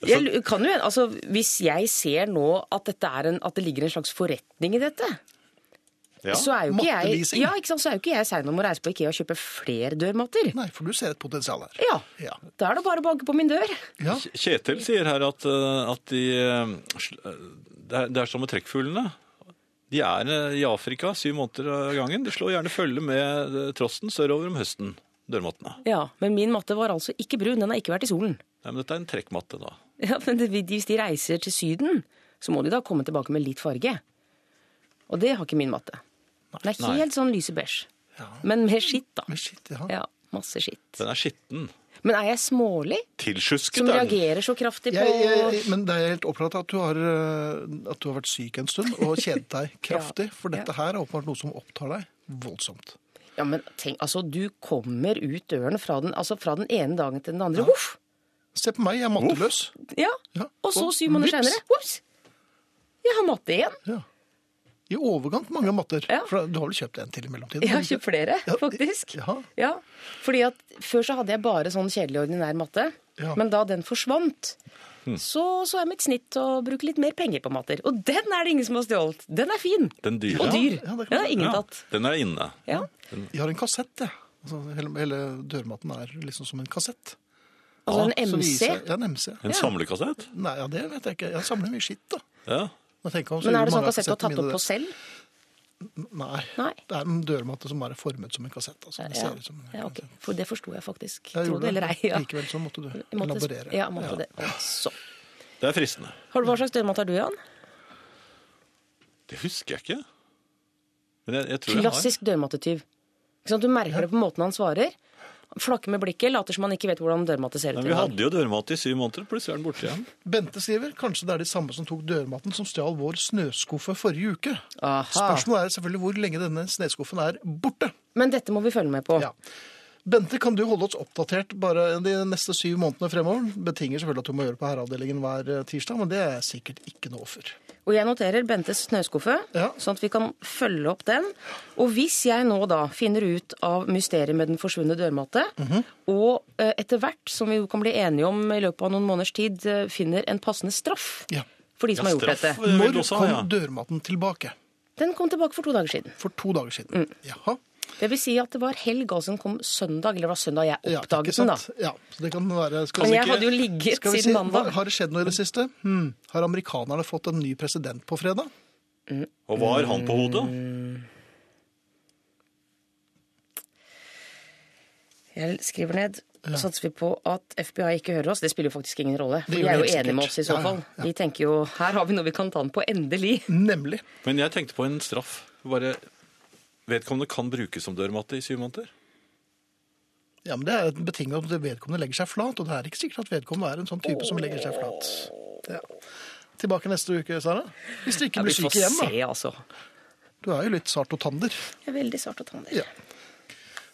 Speaker 3: jeg, lu- kan jo, hende- altså, hvis jeg ser nå at, dette er en, at det ligger en slags forretning i dette,
Speaker 2: Ja.
Speaker 3: så er jo ikke jeg,
Speaker 1: matteleasing.
Speaker 3: ja, ikke sant, så er jo ikke jeg sein om å reise på Ikea og kjøpe flere dørmatter.
Speaker 1: Nei, for du ser et potensial her.
Speaker 3: Ja,
Speaker 1: Ja.
Speaker 3: Da er det bare å banke på min dør.
Speaker 1: Ja,
Speaker 2: Kjetil sier her at, eh, at de eh, sl- eh, det er, det er som med trekkfuglene. De er eh, i Afrika syv måneder av gangen. De slår gjerne følge med eh, trosten sørover om høsten. Dørmattene.
Speaker 3: Ja, Men min matte var altså ikke brun. Den har ikke vært i solen.
Speaker 2: Nei, men dette er en trekkmatte, da.
Speaker 3: Ja, men det, Hvis de reiser til Syden, så må de da komme tilbake med litt farge. Og det har ikke min matte. Den er
Speaker 2: Nei.
Speaker 3: helt sånn lyse beige. Men med skitt, da.
Speaker 1: men shit, ja.
Speaker 3: Ja, masse skitt.
Speaker 2: Den er skitten.
Speaker 3: Men er jeg smålig?
Speaker 2: Tilsjusket
Speaker 3: Som
Speaker 2: er den.
Speaker 3: reagerer så kraftig på
Speaker 1: Jeg, jeg, men det er helt opplagt at du, har, eh, at du har vært syk en stund og kjedet deg kraftig, for dette her er åpenbart noe som opptar deg voldsomt.
Speaker 3: Ja, men tenk, altså, du kommer ut døren fra den, altså, fra den ene dagen til den andre. Voff!
Speaker 1: Se på meg, jeg er matteløs.
Speaker 3: Ja.
Speaker 1: Ja.
Speaker 3: Og så
Speaker 1: Og
Speaker 3: syv måneder
Speaker 1: vips.
Speaker 3: senere, vops! Jeg har matte igjen.
Speaker 1: Ja. I overkant mange matter.
Speaker 3: Ja.
Speaker 1: For du har vel kjøpt en til i mellomtiden?
Speaker 3: Jeg
Speaker 1: har
Speaker 3: har
Speaker 1: du
Speaker 3: kjøpt
Speaker 1: ikke?
Speaker 3: flere,
Speaker 1: Ja,
Speaker 3: faktisk.
Speaker 1: ja.
Speaker 3: Ja. Fordi at før så hadde jeg bare sånn kjedelig ordinær matte.
Speaker 1: Ja.
Speaker 3: Men da den forsvant, så, så er mitt snitt å bruke litt mer penger på mater. Og den er det ingen som har stjålet. Den er fin.
Speaker 2: Den dyre.
Speaker 3: Og dyr.
Speaker 1: Ja, ja, det kan
Speaker 3: Den har
Speaker 1: være.
Speaker 3: ingen
Speaker 2: Ja,
Speaker 3: tatt.
Speaker 2: den er inne.
Speaker 3: Ja.
Speaker 1: Jeg har en kassett, jeg. Altså, hele, hele dørmatten er liksom som en kassett.
Speaker 3: Altså
Speaker 1: Ja,
Speaker 3: en
Speaker 1: så
Speaker 3: MC.
Speaker 1: viser- Ja, en MC.
Speaker 2: En samlekassett.
Speaker 1: Nei, ja, det vet jeg ikke. Jeg samler mye skitt, da.
Speaker 2: Ja.
Speaker 1: Når jeg tenker om, så
Speaker 3: Men
Speaker 1: gjorde
Speaker 3: er det sånn
Speaker 1: mange av
Speaker 3: kassett du har tatt
Speaker 1: kassettene
Speaker 3: opp
Speaker 1: mine
Speaker 3: på selv?
Speaker 1: det. Nei.
Speaker 3: Nei.
Speaker 1: Det er en dørmatte som bare er formet som en kassett. Altså. Det
Speaker 3: Ja,
Speaker 1: ser ut som en
Speaker 3: ja, ok.
Speaker 1: kassett.
Speaker 3: For det forsto jeg faktisk.
Speaker 1: Jeg
Speaker 3: Tro
Speaker 1: gjorde
Speaker 3: det eller ei. Ja.
Speaker 1: Likevel så måtte du
Speaker 3: Jeg måtte-
Speaker 1: elaborere.
Speaker 3: Ja, jeg måtte det. Så.
Speaker 2: Det er fristende.
Speaker 3: Har du, hva slags dørmat har du, Jan?
Speaker 2: Det husker jeg ikke. Men jeg, jeg tror
Speaker 3: Klassisk dørmattetyv. Ikke sant? Du merker det på måten han svarer. Han Flakker med blikket, later som han ikke vet hvordan dørmatte ser
Speaker 2: jeg
Speaker 3: ut.
Speaker 2: har. Men vi
Speaker 3: engang.
Speaker 2: hadde jo dørmat i syv måneder, plutselig er den borte igjen.
Speaker 1: Bente skriver kanskje det er de samme som tok dørmatten som stjal vår snøskuffe forrige uke.
Speaker 3: Aha.
Speaker 1: Spørsmålet er selvfølgelig hvor lenge denne snøskuffen er borte.
Speaker 3: Men dette må vi følge med på.
Speaker 1: Ja. Bente, kan du holde oss oppdatert bare de neste syv månedene fremover? Betinger selvfølgelig at du må gjøre det på herreavdelingen hver eh, tirsdag, men det er sikkert ikke noe offer.
Speaker 3: Og jeg noterer Bentes snøskuffe,
Speaker 1: Ja.
Speaker 3: sånn at vi kan følge opp den. Og hvis jeg nå da finner ut av mysteriet med den forsvunne dørmatte,
Speaker 1: Mhm.
Speaker 3: og eh, etter hvert, som vi jo kan bli enige om i løpet av noen måneders tid, eh, finner en passende straff
Speaker 1: Ja.
Speaker 3: for de som har gjort dette.
Speaker 2: vil
Speaker 1: Når
Speaker 2: du også ha,
Speaker 1: kom
Speaker 2: ja.
Speaker 1: dørmatten tilbake?
Speaker 3: Den kom tilbake for to dager siden.
Speaker 1: For to dager siden.
Speaker 3: Mm.
Speaker 1: Jaha.
Speaker 3: Det vil si at det var helg, altså den kom søndag, eller det var søndag jeg
Speaker 1: Ja,
Speaker 3: oppdaget
Speaker 1: ikke
Speaker 3: den da.
Speaker 1: sant? Ja, så det kan være... Skal
Speaker 3: Men
Speaker 1: vi
Speaker 3: jeg
Speaker 1: ikke-
Speaker 3: hadde jo ligget
Speaker 1: Skal vi
Speaker 3: siden
Speaker 1: si,
Speaker 3: mandag.
Speaker 1: hva- Har det skjedd noe i det siste? Hmm. Har amerikanerne fått en ny president på fredag?
Speaker 2: Og hva har han på hodet?
Speaker 3: Jeg skriver ned, og satser vi på at FBI ikke hører oss. Det spiller jo faktisk ingen rolle. For
Speaker 1: Det
Speaker 3: de
Speaker 1: gjør
Speaker 3: er
Speaker 1: det
Speaker 3: jo
Speaker 1: helt
Speaker 3: enige med
Speaker 1: sikkert.
Speaker 3: oss i så
Speaker 1: Ja, ja,
Speaker 3: fall. De tenker jo her har vi noe vi kan ta den på, endelig.
Speaker 1: Nemlig.
Speaker 2: Men jeg tenkte på en straff. Bare vedkommende kan brukes som dørmatte i syv måneder.
Speaker 1: Ja, men Det er betinget om det vedkommende legger seg flat, og det er ikke sikkert at vedkommende er en sånn type som legger seg flat. Ja. Tilbake neste uke, Sara. Hvis du ikke
Speaker 3: Ja,
Speaker 1: blir
Speaker 3: vi
Speaker 1: syk
Speaker 3: får
Speaker 1: igjen, da.
Speaker 3: se, altså.
Speaker 1: Du er jo litt sart og tander.
Speaker 3: Jeg er veldig sart og tander.
Speaker 1: Ja.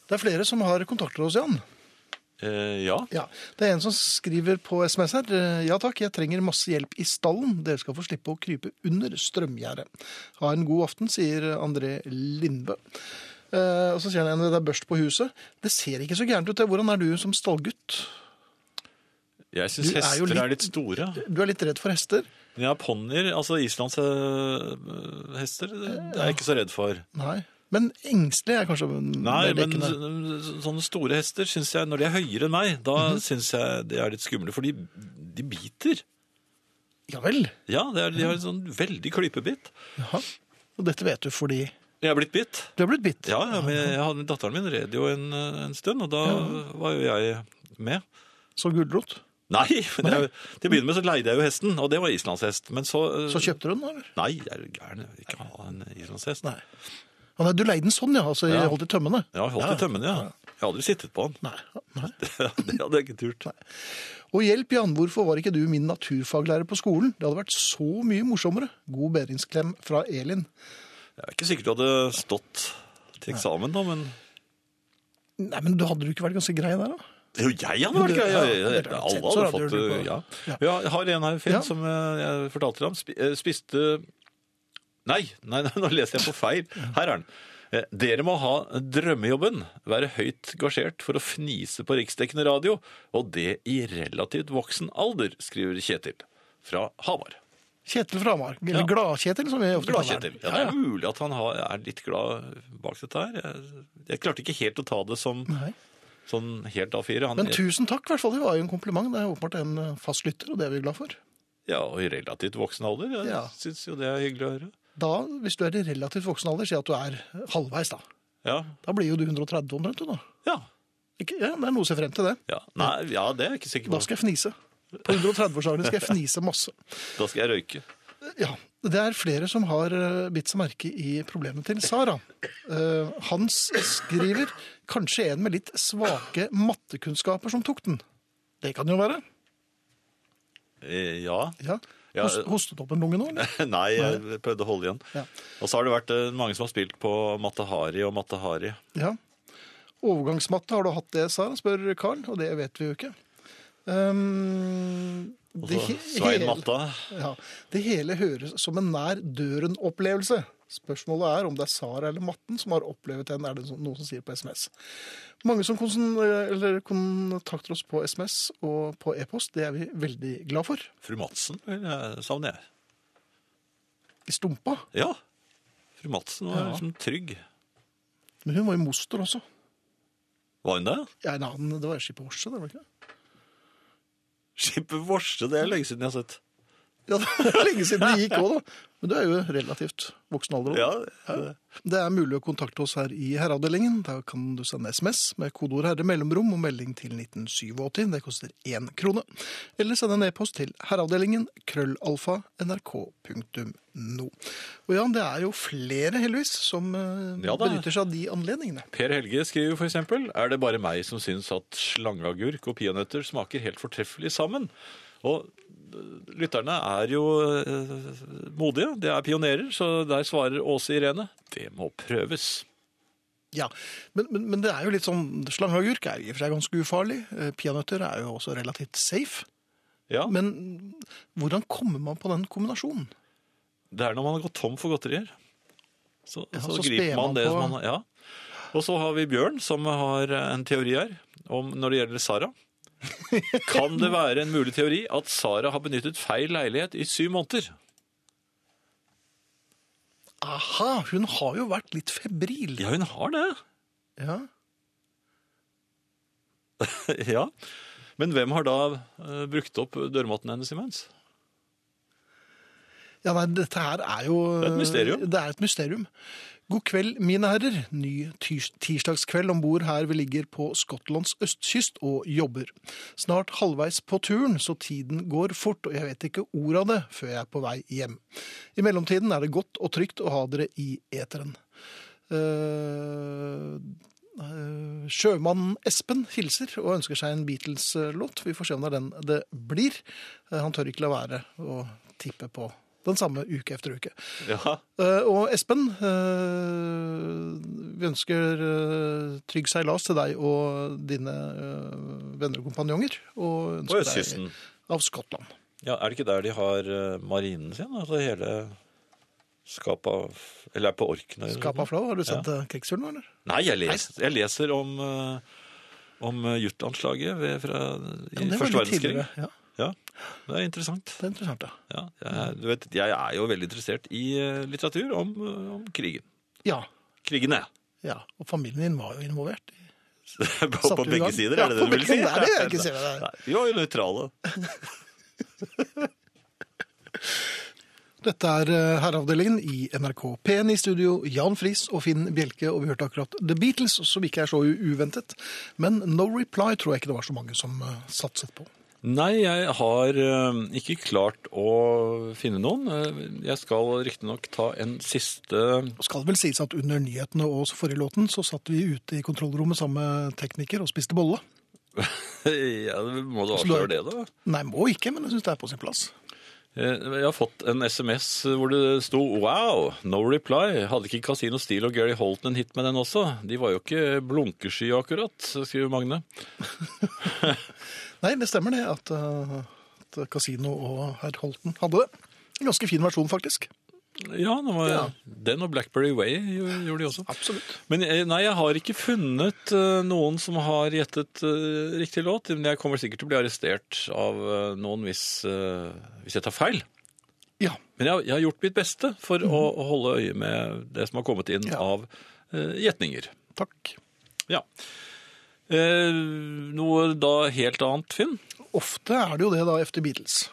Speaker 1: Det er flere som har kontakter hos Jan.
Speaker 2: Eh, ja.
Speaker 1: Ja. Det er en som skriver på SMS her. eh, Ja takk, jeg trenger masse hjelp i stallen. Dere skal få slippe å krype under strømgjerdet. Ha en god aften, sier André Lindbø. Eh, og så sier han en det er børst på huset. Det ser ikke så gærent ut. det. Hvordan er du som stallgutt?
Speaker 2: Jeg syns
Speaker 1: Du er
Speaker 2: hester
Speaker 1: jo
Speaker 2: er,
Speaker 1: litt-
Speaker 2: litt store.
Speaker 1: Du er litt redd for hester?
Speaker 2: Men jeg har ponnier, altså Islands øh, hester, det det er jeg ikke så redd for.
Speaker 1: Nei. Men engstelig er kanskje mer
Speaker 2: Nei, men
Speaker 1: dekkende. Mhm.
Speaker 2: så- sånne store hester syns jeg, når de er høyere enn meg, da syns jeg de er litt skumle, for de, de biter.
Speaker 1: Ja vel.
Speaker 2: Ja, det er, de har en sånn veldig klypebitt.
Speaker 1: Jaha. Og dette vet du fordi
Speaker 2: Jeg er blitt bitt.
Speaker 1: du er blitt bitt.
Speaker 2: Ja, ja, men jeg hadde, datteren min red jo en, en stund, og da var jo jeg med.
Speaker 1: Så gulrot.
Speaker 2: Nei, men jeg, til å begynne med så leide jeg jo hesten, og det var islandshest. Men så, øh,
Speaker 1: Så kjøpte du den, eller?
Speaker 2: Nei, jeg er gæren. Jeg vil ikke ha en islandshest.
Speaker 1: Nei. Ja, nei, du leide den sånn, ja. Altså,
Speaker 2: Ja.
Speaker 1: jeg holdt i tømmene.
Speaker 2: Jeg har holdt i tømmene, ja. Jeg har aldri sittet på den.
Speaker 1: Nei. nei.
Speaker 2: Det hadde jeg ikke turt.
Speaker 1: Og hjelp, Jan, hvorfor var ikke du min naturfaglærer på skolen? Det hadde vært så mye morsommere. God bedringsklem fra Elin.
Speaker 2: Jeg er ikke sikkert du hadde stått til eksamen da, men
Speaker 1: Nei, men du hadde du ikke vært ganske grei der, da?
Speaker 2: Jo, jeg hadde vært
Speaker 1: Du-
Speaker 2: grei.
Speaker 1: ja,
Speaker 2: jeg- jeg-
Speaker 1: det er
Speaker 2: Alle
Speaker 1: sett, så
Speaker 2: hadde
Speaker 1: hadde du
Speaker 2: fått det.
Speaker 1: det på-
Speaker 2: Ja.
Speaker 1: Ja.
Speaker 2: Ja, Jeg har en her, Finn,
Speaker 1: Ja.
Speaker 2: som eh, jeg fortalte deg om. Spi- eh, Spiste Nei, nei, nei, nå leser jeg på feil. Her er den. Eh, Dere må ha drømmejobben, være høyt gasjert for å fnise på riksdekkende radio, og det i relativt voksen alder, skriver Kjetil fra Hamar.
Speaker 1: Kjetil fra Hamar. Eller
Speaker 2: Ja.
Speaker 1: Glad-Kjetil, som vi ofte
Speaker 2: Glad
Speaker 1: kaller
Speaker 2: Kjetil.
Speaker 1: den.
Speaker 2: Ja, det er mulig at han har, er litt glad bak dette her. Jeg, jeg klarte ikke helt å ta det som
Speaker 1: Nei.
Speaker 2: sånn helt A4. Han,
Speaker 1: Men tusen takk, i hvert fall. Det var jo en kompliment. Det er åpenbart en eh, fast lytter, og det er vi glad for.
Speaker 2: Ja, og i relativt voksen alder. Jeg
Speaker 1: Ja.
Speaker 2: synes jo det er hyggelig å høre.
Speaker 1: Da, hvis du er i relativt voksen alder, si at du er halvveis, da.
Speaker 2: Ja,
Speaker 1: Da blir jo du 130 omtrent, du, da.
Speaker 2: ja.
Speaker 1: Ikke, ja, det er noe å se frem til, det.
Speaker 2: ja. Nei, ja, det er jeg ikke sikker på.
Speaker 1: Da skal jeg fnise. På 130-årsdagen skal jeg fnise masse.
Speaker 2: Da skal jeg røyke.
Speaker 1: Ja, det er flere som har eh, bitt seg merke i problemet til Sara. Eh, Hans skriver kanskje en med litt svake mattekunnskaper som tok den. Det kan jo være.
Speaker 2: Eh, Ja.
Speaker 1: Ja.
Speaker 2: Ja,
Speaker 1: Host,
Speaker 2: eh.
Speaker 1: hostet opp en lunge nå, eller?
Speaker 2: Nei, jeg prøvde å holde igjen.
Speaker 1: Ja.
Speaker 2: Og så har det vært eh, mange som har spilt på Matahari og Matahari.
Speaker 1: Ja. Overgangsmatte, har du hatt det, Sara? spør Carl, og det vet vi jo ikke. Um, det,
Speaker 2: Og så
Speaker 1: he-
Speaker 2: Altså, Svein
Speaker 1: hele-
Speaker 2: Matta.
Speaker 1: Ja, det hele høres som en nær døren-opplevelse. Spørsmålet er om det er Sara eller Matten som har opplevd den, er det noen som sier på SMS. Mange som konsen- eller kontakter oss på SMS og på e-post, det er vi veldig glad for.
Speaker 2: Fru Madsen eh, savner jeg.
Speaker 1: I stumpa.
Speaker 2: Ja. Fru Madsen var
Speaker 1: Ja.
Speaker 2: liksom trygg.
Speaker 1: Men hun var jo moster også.
Speaker 2: Var hun det?
Speaker 1: Ja, en annen, det var Skipper Horse, det var ikke det?
Speaker 2: Skipper Vorse, det er lenge siden jeg har sett.
Speaker 1: Ja, det er lenge siden det gikk òg, da. Men du er jo relativt voksen alder. da.
Speaker 2: Ja, ja.
Speaker 1: Det er mulig å kontakte oss her i herreavdelingen. Da kan du sende SMS med kodeord 'herre' mellomrom og melding til 1987. Det koster én krone. Eller sende en e-post til herreavdelingen krøllalfa nrk.no. Og Jan, det er jo flere, heldigvis, som eh,
Speaker 2: Ja da.
Speaker 1: benytter seg av de anledningene.
Speaker 2: Per Helge skriver for eksempel Er det bare meg som synes at slangeagurk og peanøtter smaker helt fortreffelig sammen? Og øh, lytterne er jo øh, modige. De er pionerer, så der svarer Åse Irene det må prøves.
Speaker 1: Ja, men, men, men det er jo litt sånn Slangeagurk er i og for seg ganske ufarlig. Eh, Peanøtter er jo også relativt safe.
Speaker 2: Ja,
Speaker 1: Men hvordan kommer man på den kombinasjonen?
Speaker 2: Det er når man har gått tom for godterier. Så,
Speaker 1: Ja,
Speaker 2: så,
Speaker 1: så
Speaker 2: griper
Speaker 1: sper
Speaker 2: man
Speaker 1: man
Speaker 2: det
Speaker 1: på-
Speaker 2: som man Ja. Og så har vi Bjørn, som har eh, en teori her om når det gjelder Sara. Kan det være en mulig teori at Sara har benyttet feil leilighet i syv måneder?
Speaker 1: Aha, hun har jo vært litt febril.
Speaker 2: Ja, hun har det.
Speaker 1: Ja.
Speaker 2: ja. Men hvem har da eh, brukt opp dørmatten hennes imens?
Speaker 1: Ja, nei, dette her er jo eh,
Speaker 2: Det er et mysterium.
Speaker 1: Det er et mysterium. God kveld, mine herrer. Ny tirs tirsdagskveld om bord her vi ligger på Skottlands østkyst og jobber. Snart halvveis på turen, så tiden går fort, og jeg vet ikke ordet av det før jeg er på vei hjem. I mellomtiden er det godt og trygt å ha dere i eteren. Eh, eh, Sjømannen Espen hilser og ønsker seg en Beatles-låt. Vi får se om det er den det blir. Eh, Han tør ikke la være å tippe på den samme uke etter uke.
Speaker 2: Ja,
Speaker 1: Eh, Og Espen, eh, vi ønsker eh, trygg seilas til deg og dine eh, venner og kompanjonger. Og
Speaker 2: På
Speaker 1: ønsker
Speaker 2: østkysten.
Speaker 1: deg av Skottland.
Speaker 2: Ja, er det ikke der de har eh, marinen sin? Altså hele Skapa Eller er på Orknøy? eller
Speaker 1: Skapa
Speaker 2: noe sånt?
Speaker 1: flau, har du sendt ja. krigsfuglen nå, eller?
Speaker 2: Nei, jeg leser, jeg leser om, eh, om eh, Jutlandslaget ved, fra, i
Speaker 1: det var
Speaker 2: første
Speaker 1: litt
Speaker 2: verdenskrig.
Speaker 1: tidligere. Ja,
Speaker 2: Ja, det er interessant.
Speaker 1: det er interessant, ja.
Speaker 2: Ja, jeg, du vet, jeg er jo veldig interessert i eh, litteratur om, eh, om krigen.
Speaker 1: Ja,
Speaker 2: Krigene.
Speaker 1: ja. Og familien din var jo involvert. i-
Speaker 2: på, på
Speaker 1: Samtidig
Speaker 2: begge
Speaker 1: gang.
Speaker 2: sider,
Speaker 1: Ja, på
Speaker 2: er det det du vil
Speaker 1: begge
Speaker 2: si?
Speaker 1: sider, det er jeg ikke sier det.
Speaker 2: Nei, Vi var jo nøytrale.
Speaker 1: Dette er eh, Herreavdelingen i NRK P1 i studio. Jan Friis og Finn Bjelke, og vi hørte akkurat The Beatles, som ikke er så u- uventet. Men No Reply tror jeg ikke det var så mange som eh, satset på.
Speaker 2: Nei, jeg har eh, ikke klart å finne noen. Eh, Jeg skal riktignok ta en siste
Speaker 1: Og skal det vel sies at under nyhetene og forrige låten, så satt vi ute i kontrollrommet sammen med tekniker og spiste bolle.
Speaker 2: ja, Må du
Speaker 1: Slå-
Speaker 2: avsløre det, da?
Speaker 1: Nei, må ikke, men jeg syns det er på sin plass.
Speaker 2: Eh, Jeg har fått en SMS hvor det sto Wow, no reply. Hadde ikke Casino Steel og Gary Holton en hit med den også? De var jo ikke blunkesky akkurat, skriver Magne.
Speaker 1: Nei, det stemmer det at, eh, at Casino og herr Holten hadde det. En ganske fin versjon, faktisk.
Speaker 2: Ja, den, var,
Speaker 1: Ja.
Speaker 2: den og Blackberry Way gjo- gjorde de også.
Speaker 1: Absolutt.
Speaker 2: Men eh, nei, jeg har ikke funnet eh, noen som har gjettet eh, riktig låt. Men jeg kommer sikkert til å bli arrestert av eh, noen hvis, eh, hvis jeg tar feil.
Speaker 1: Ja.
Speaker 2: Men jeg, jeg har gjort mitt beste for å, å holde øye med det som har kommet inn
Speaker 1: Ja.
Speaker 2: av eh, gjetninger.
Speaker 1: Takk.
Speaker 2: Ja. Eh, noe da helt annet, Finn?
Speaker 1: Ofte er det jo det, da, efter Beatles.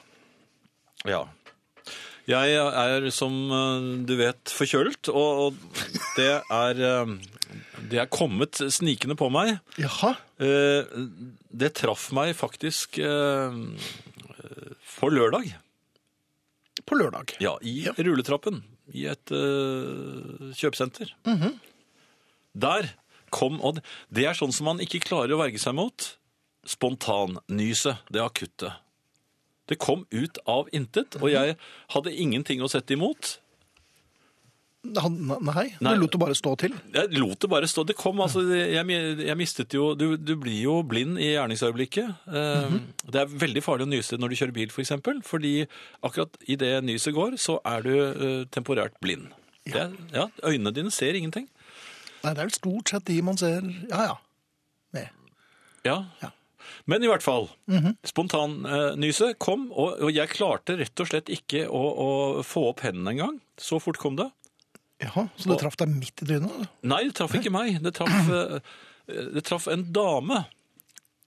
Speaker 2: Ja. Jeg er, som eh, du vet, forkjølt, og, og det er eh, Det er kommet snikende på meg.
Speaker 1: Jaha.
Speaker 2: Eh, Det traff meg faktisk eh, på lørdag.
Speaker 1: På lørdag.
Speaker 2: Ja, i rulletrappen i et eh, kjøpesenter. Der kom og Det er sånn som man ikke klarer å verge seg mot. Spontannyset, det akutte. Det kom ut av intet, og jeg hadde ingenting å sette imot.
Speaker 1: Han, nei,
Speaker 2: Nei.
Speaker 1: du lot det bare stå til.
Speaker 2: Jeg lot det bare stå. Det kom, altså, jeg, jeg mistet jo du, du blir jo blind i gjerningsøyeblikket. Eh, Det er veldig farlig å nyse når du kjører bil, f.eks. For eksempel, fordi akkurat idet nyset går, så er du eh, temporært blind. Det er, ja, øynene dine ser ingenting.
Speaker 1: Nei, det er vel stort sett de man ser Ja, ja. Med.
Speaker 2: Ja. Mhm.
Speaker 1: Ja.
Speaker 2: Men i hvert fall, spontannyset kom, og, og jeg klarte rett og slett ikke å, å få opp hendene engang. Så fort kom det.
Speaker 1: Jaha, så det traff deg midt i trynet? da.
Speaker 2: Nei, det traff ikke meg. Det traff, eh, det traff en dame.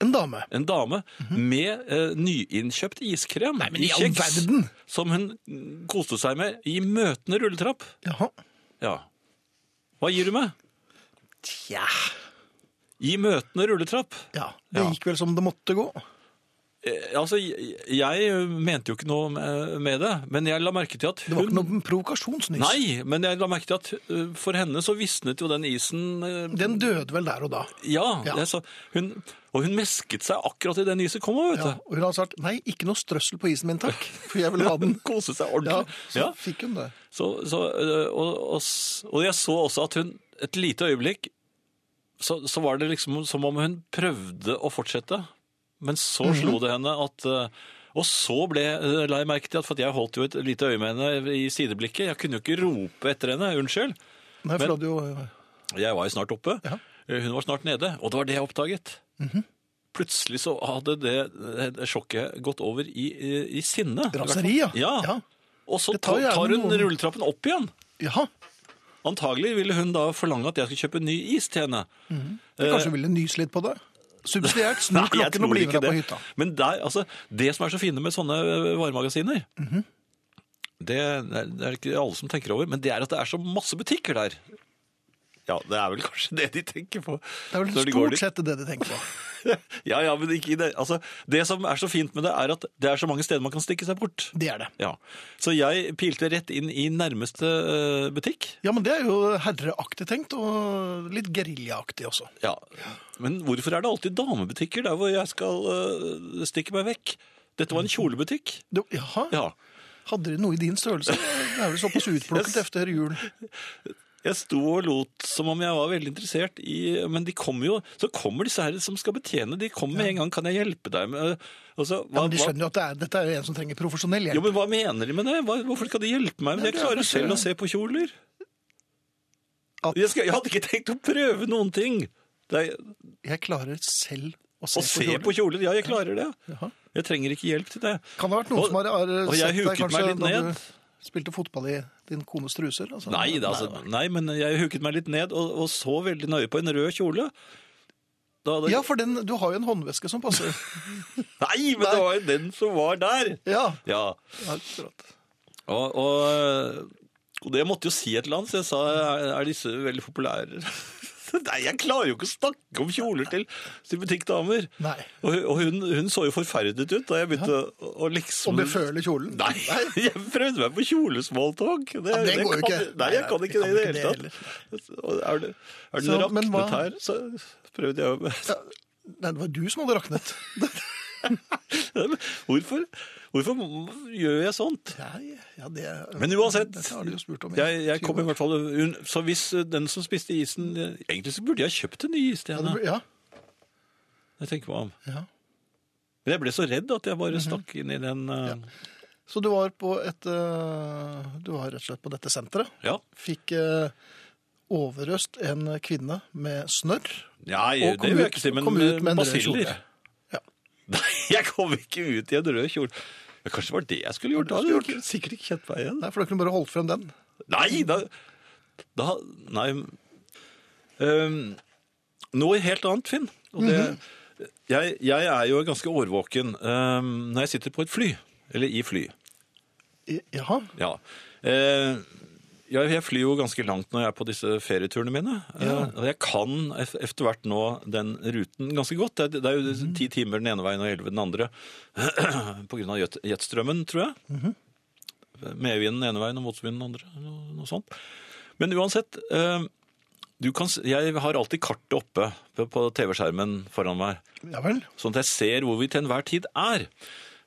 Speaker 1: En dame.
Speaker 2: En dame med eh, nyinnkjøpt iskrem
Speaker 1: men i all verden!
Speaker 2: som hun mm, koste seg med i møtende rulletrapp.
Speaker 1: Jaha.
Speaker 2: Ja. Hva gir du meg?
Speaker 1: Tja.
Speaker 2: I møtende rulletrapp.
Speaker 1: Ja, det
Speaker 2: Ja.
Speaker 1: gikk vel som det måtte gå.
Speaker 2: Eh, altså, jeg, jeg mente jo ikke noe med med det, men jeg la merke til at
Speaker 1: Det var
Speaker 2: hun
Speaker 1: ikke noe provokasjonsnys.
Speaker 2: Nei, men jeg la merke til at eh, for henne så visnet jo den isen eh,
Speaker 1: Den døde vel der og da.
Speaker 2: Ja.
Speaker 1: Ja.
Speaker 2: Jeg sa- hun, og hun mesket seg akkurat idet nyset kom òg, vet
Speaker 1: Ja,
Speaker 2: du.
Speaker 1: og hun har sagt nei, ikke noe strøssel på isen min, takk. For jeg vil ha den.
Speaker 2: Hun koste seg
Speaker 1: Ja,
Speaker 2: ordentlig.
Speaker 1: så
Speaker 2: Ja.
Speaker 1: fikk hun det.
Speaker 2: Så, så, øh, og, og, s- og jeg så også at hun et lite øyeblikk så, så var det liksom som om hun prøvde å fortsette. Men så
Speaker 1: Mhm.
Speaker 2: slo det henne at øh, Og så ble, øh, la jeg merke til at for at jeg holdt jo et lite øye med henne i sideblikket. Jeg kunne jo ikke rope etter henne. Unnskyld.
Speaker 1: Nei, for
Speaker 2: Men-
Speaker 1: det hadde jo... eh,
Speaker 2: Jeg var jo snart oppe. Øh,
Speaker 1: Ja. Mhm.
Speaker 2: Hun var snart nede. Og det var det jeg oppdaget. Plutselig så hadde det, det sjokket gått over i, øh, i- i sinne.
Speaker 1: Raseri, ja.
Speaker 2: Ja. Og så
Speaker 1: Det tar
Speaker 2: tar,
Speaker 1: gjerne
Speaker 2: tar hun
Speaker 1: noen-
Speaker 2: rulletrappen opp igjen.
Speaker 1: Jaha,
Speaker 2: Antagelig ville hun da forlange at jeg skulle kjøpe ny is til henne.
Speaker 1: kanskje hun ville nyse litt på det. Subsidiert, snu
Speaker 2: Nei, jeg
Speaker 1: klokken og
Speaker 2: tror
Speaker 1: bli
Speaker 2: ikke
Speaker 1: med deg på
Speaker 2: det.
Speaker 1: hytta.
Speaker 2: Men der, altså, det som er så fine med sånne ø, varemagasiner,
Speaker 1: Mhm.
Speaker 2: det, det er det ikke alle som tenker over, men det er at det er så masse butikker der. Ja, det er vel kanskje det de tenker på.
Speaker 1: Det er vel
Speaker 2: når de går
Speaker 1: stort
Speaker 2: dit.
Speaker 1: sett det de tenker på.
Speaker 2: Ja, ja, men ikke i det. Altså, det som er så fint med det, er at det er så mange steder man kan stikke seg bort.
Speaker 1: Det er det.
Speaker 2: Ja. Så jeg pilte rett inn i nærmeste ø, butikk.
Speaker 1: Ja, men det er jo herreaktig tenkt, og litt geriljaaktig også.
Speaker 2: Ja, Men hvorfor er det alltid damebutikker der hvor jeg skal øh, stikke meg vekk? Dette var en kjolebutikk.
Speaker 1: Det, jaha,
Speaker 2: Ja.
Speaker 1: hadde de noe i din størrelse? Det er vel såpass utplukket
Speaker 2: Yes.
Speaker 1: efter jul.
Speaker 2: Jeg sto og lot som om jeg var veldig interessert i Men de kommer jo Så kommer disse her som skal betjene. De kommer med en gang. Kan jeg hjelpe deg med altså,
Speaker 1: Ja,
Speaker 2: hva,
Speaker 1: men de
Speaker 2: hva,
Speaker 1: skjønner jo at det er, dette er jo en som trenger profesjonell
Speaker 2: jo,
Speaker 1: hjelp.
Speaker 2: men hva mener de med det? Hva, hvorfor skal de hjelpe meg? Men
Speaker 1: Nei,
Speaker 2: jeg
Speaker 1: det er
Speaker 2: klarer
Speaker 1: kanskje-
Speaker 2: selv å se på kjoler.
Speaker 1: At-
Speaker 2: Jeg, skal, jeg hadde ikke tenkt å prøve noen ting. Det er,
Speaker 1: Jeg klarer selv å se
Speaker 2: å se
Speaker 1: på
Speaker 2: på
Speaker 1: kjolen.
Speaker 2: kjoler, ja, jeg klarer det.
Speaker 1: Jaha.
Speaker 2: Jeg trenger ikke hjelp til det.
Speaker 1: Kan det ha vært noen
Speaker 2: Og-
Speaker 1: som har, har
Speaker 2: og jeg
Speaker 1: sett deg
Speaker 2: huket meg
Speaker 1: kanskje
Speaker 2: litt
Speaker 1: da
Speaker 2: ned.
Speaker 1: du spilte fotball i din kones truser? Altså?
Speaker 2: Nei, det, altså, nei, men jeg huket meg litt ned og, og så veldig nøye på en rød kjole. Da hadde...
Speaker 1: Ja, for den, du har jo en håndveske som passer.
Speaker 2: Nei, men det var jo den som var der!
Speaker 1: Ja,
Speaker 2: Ja,
Speaker 1: akkurat.
Speaker 2: og, og, og det måtte jo si et eller annet, så jeg sa er, er disse veldig populære? Nei, jeg klarer jo ikke å snakke om kjoler til, til butikkdamer.
Speaker 1: Nei.
Speaker 2: Og, hun- og hun, hun så jo forferdet ut da jeg begynte å, å
Speaker 1: Og
Speaker 2: liksom
Speaker 1: beføle kjolen?
Speaker 2: Nei, jeg prøvde meg på kjolesmalltalk. Det,
Speaker 1: Ja, det går jo
Speaker 2: kan,
Speaker 1: ikke.
Speaker 2: Nei, jeg
Speaker 1: Nei,
Speaker 2: kan
Speaker 1: nei,
Speaker 2: ikke
Speaker 1: vi
Speaker 2: det i det hele tatt. Og Er det, er det
Speaker 1: Så, men
Speaker 2: raknet
Speaker 1: hva-
Speaker 2: her, så prøvde jeg å
Speaker 1: Ja, nei, det var du som hadde raknet.
Speaker 2: hvorfor, hvorfor gjør jeg sånt?
Speaker 1: Nei, ja, det,
Speaker 2: Men uansett,
Speaker 1: Dette har du jo spurt om. i
Speaker 2: Jeg,
Speaker 1: 20
Speaker 2: jeg kom i
Speaker 1: år.
Speaker 2: hvert fall un- Så hvis eh, den som spiste isen eh, Egentlig så burde jeg kjøpt en ny is til
Speaker 1: ja, det,
Speaker 2: henne.
Speaker 1: blir- ja,
Speaker 2: Jeg tenker meg om.
Speaker 1: ja. Mhm.
Speaker 2: Men jeg ble så redd at jeg bare stakk inn i den eh,
Speaker 1: Så du var på et eh, Du var rett og slett på dette senteret.
Speaker 2: Ja.
Speaker 1: Fikk eh, overøst en kvinne med snørr.
Speaker 2: ja
Speaker 1: Og
Speaker 2: jeg,
Speaker 1: kom
Speaker 2: det vil
Speaker 1: ut-
Speaker 2: jeg ikke si, men
Speaker 1: kom ut med en rød
Speaker 2: basiller.
Speaker 1: kjole. Ja.
Speaker 2: Nei, jeg kom ikke ut i en rød kjole. Men kanskje det var det jeg skulle gjort? Da
Speaker 1: Hva
Speaker 2: hadde
Speaker 1: skulle
Speaker 2: jeg
Speaker 1: du
Speaker 2: ikke- sikkert ikke kjent meg igjen.
Speaker 1: Nei, for da kunne du bare holdt frem den.
Speaker 2: Nei, da, da Nei. Øhm, noe helt annet, Finn. Og det,
Speaker 1: Mhm.
Speaker 2: jeg, jeg er jo ganske årvåken øhm, når jeg sitter på et fly. Eller i fly.
Speaker 1: I, jaha.
Speaker 2: Ja. Eh, jeg, jeg flyr jo ganske langt når jeg er på disse ferieturene mine. Eh, og jeg kan ef- etter hvert nå den ruten ganske godt. Det, er- det er jo ti timer den ene veien og elleve den andre. på grunn av jet, jetstrømmen, tror jeg. Medvinden den ene veien og motvinden den andre. Noe, noe sånt. Men uansett eh, du kan, s- Jeg har alltid kartet oppe på- på TV-skjermen foran meg
Speaker 1: Ja vel.
Speaker 2: sånn at jeg ser hvor vi til enhver tid er.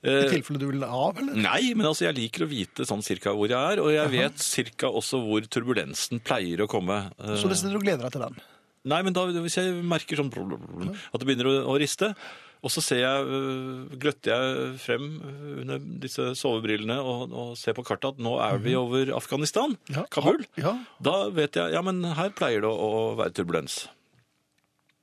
Speaker 1: I
Speaker 2: Eh,
Speaker 1: tilfelle du vil av, eller?
Speaker 2: Nei, men altså jeg liker å vite sånn cirka hvor jeg er, og jeg vet cirka også hvor turbulensen pleier å komme. Eh,
Speaker 1: Så du sitter og gleder deg til den.
Speaker 2: Nei, men da, hvis jeg merker sånn blub, blub, blub, at det begynner å, å riste, og så ser jeg, øh, gløtter jeg frem under disse sovebrillene og, og ser på kartet at nå er vi over Afghanistan,
Speaker 1: Ja.
Speaker 2: Kabul.
Speaker 1: Ja.
Speaker 2: Da vet jeg, ja, men her pleier det å være turbulens.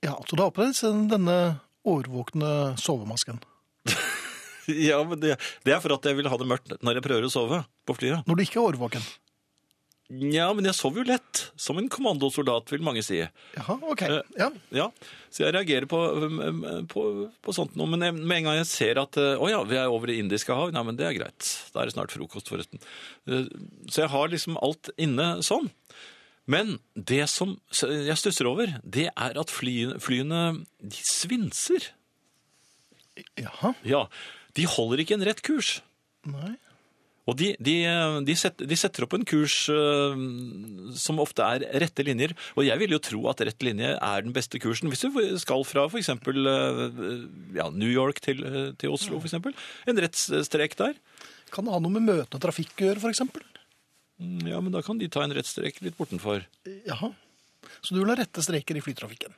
Speaker 1: Ja, så du har på deg sen- denne årvåkne sovemasken.
Speaker 2: Ja, men det, det er for at jeg vil ha det mørkt når jeg prøver å sove på flyet.
Speaker 1: Når du ikke er årvåken.
Speaker 2: Ja, men jeg sover jo lett, som en kommandosoldat, vil mange si.
Speaker 1: Jaha, ok.
Speaker 2: Eh.
Speaker 1: Ja.
Speaker 2: Ja, så jeg reagerer på, på, på sånt noe. Men jeg- med en gang jeg ser at eh, å ja, vi er over i Indiske hav, nei, men det er greit. Da er det snart frokost, forresten. Eh, Så jeg har liksom alt inne sånn. Men det som s- jeg stusser over, det er at flyene, flyene de svinser.
Speaker 1: Jaha,
Speaker 2: Ja, de holder ikke en rett kurs.
Speaker 1: nei.
Speaker 2: Og de, de, de, setter, de setter opp en kurs eh, som ofte er rette linjer, og jeg vil jo tro at rett linje er den beste kursen. Hvis du skal fra for eksempel eh, ja, New York til, eh, til Oslo, for eksempel, en rett strek der,
Speaker 1: Kan det ha noe med møte og trafikk å gjøre, for eksempel?
Speaker 2: mm, ja, men da kan de ta en rett strek litt bortenfor.
Speaker 1: Jaha. Så du vil ha rette streker i flytrafikken?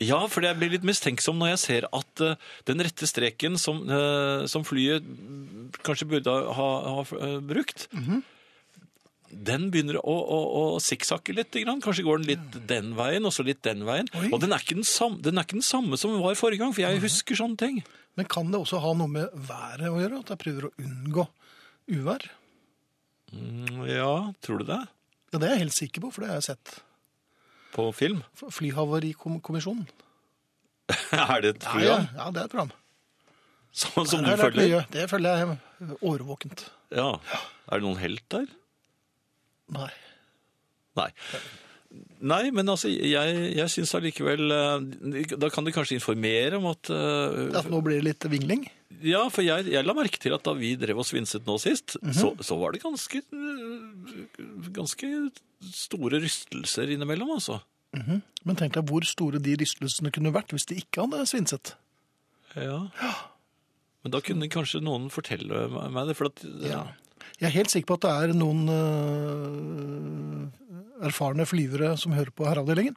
Speaker 2: Ja, for jeg blir litt mistenksom når jeg ser at eh, den rette streken som, eh, som flyet kanskje burde ha, ha eh, brukt,
Speaker 1: Mhm.
Speaker 2: den begynner å, å, å sikksakke litt. Grann. Kanskje går den litt den veien, og så litt den veien.
Speaker 1: Oi.
Speaker 2: Og den er, ikke den, samme, den er ikke den samme som den var forrige gang, for jeg husker sånne ting.
Speaker 1: Men kan det også ha noe med været å gjøre? At jeg prøver å unngå uvær?
Speaker 2: Mm, Ja, tror du det?
Speaker 1: Ja, det er jeg helt sikker på, for det har jeg sett.
Speaker 2: På film?
Speaker 1: F- Flyhavarikommisjonen.
Speaker 2: er det et
Speaker 1: Ja,
Speaker 2: program
Speaker 1: ja, ja, det er et program.
Speaker 2: som, som
Speaker 1: Her
Speaker 2: du
Speaker 1: er det
Speaker 2: følger?
Speaker 1: mye. Det følger jeg eh, årvåkent.
Speaker 2: Ja. Er det noen helt der?
Speaker 1: Nei.
Speaker 2: Nei. Nei, men altså, jeg, jeg syns allikevel eh, Da kan du kanskje informere om at eh,
Speaker 1: Ja, for nå blir det litt vingling.
Speaker 2: Ja, for jeg, jeg la merke til at da vi drev og svinset nå sist,
Speaker 1: Mhm.
Speaker 2: så, så var det ganske eh, Ganske store rystelser innimellom, altså.
Speaker 1: Men tenk deg hvor store de rystelsene kunne vært hvis de ikke hadde svinset.
Speaker 2: Ja. Men da kunne kanskje noen fortelle meg meg det, for at ja.
Speaker 1: Jeg er helt sikker på at det er noen øh, erfarne flyvere som hører på herreavdelingen.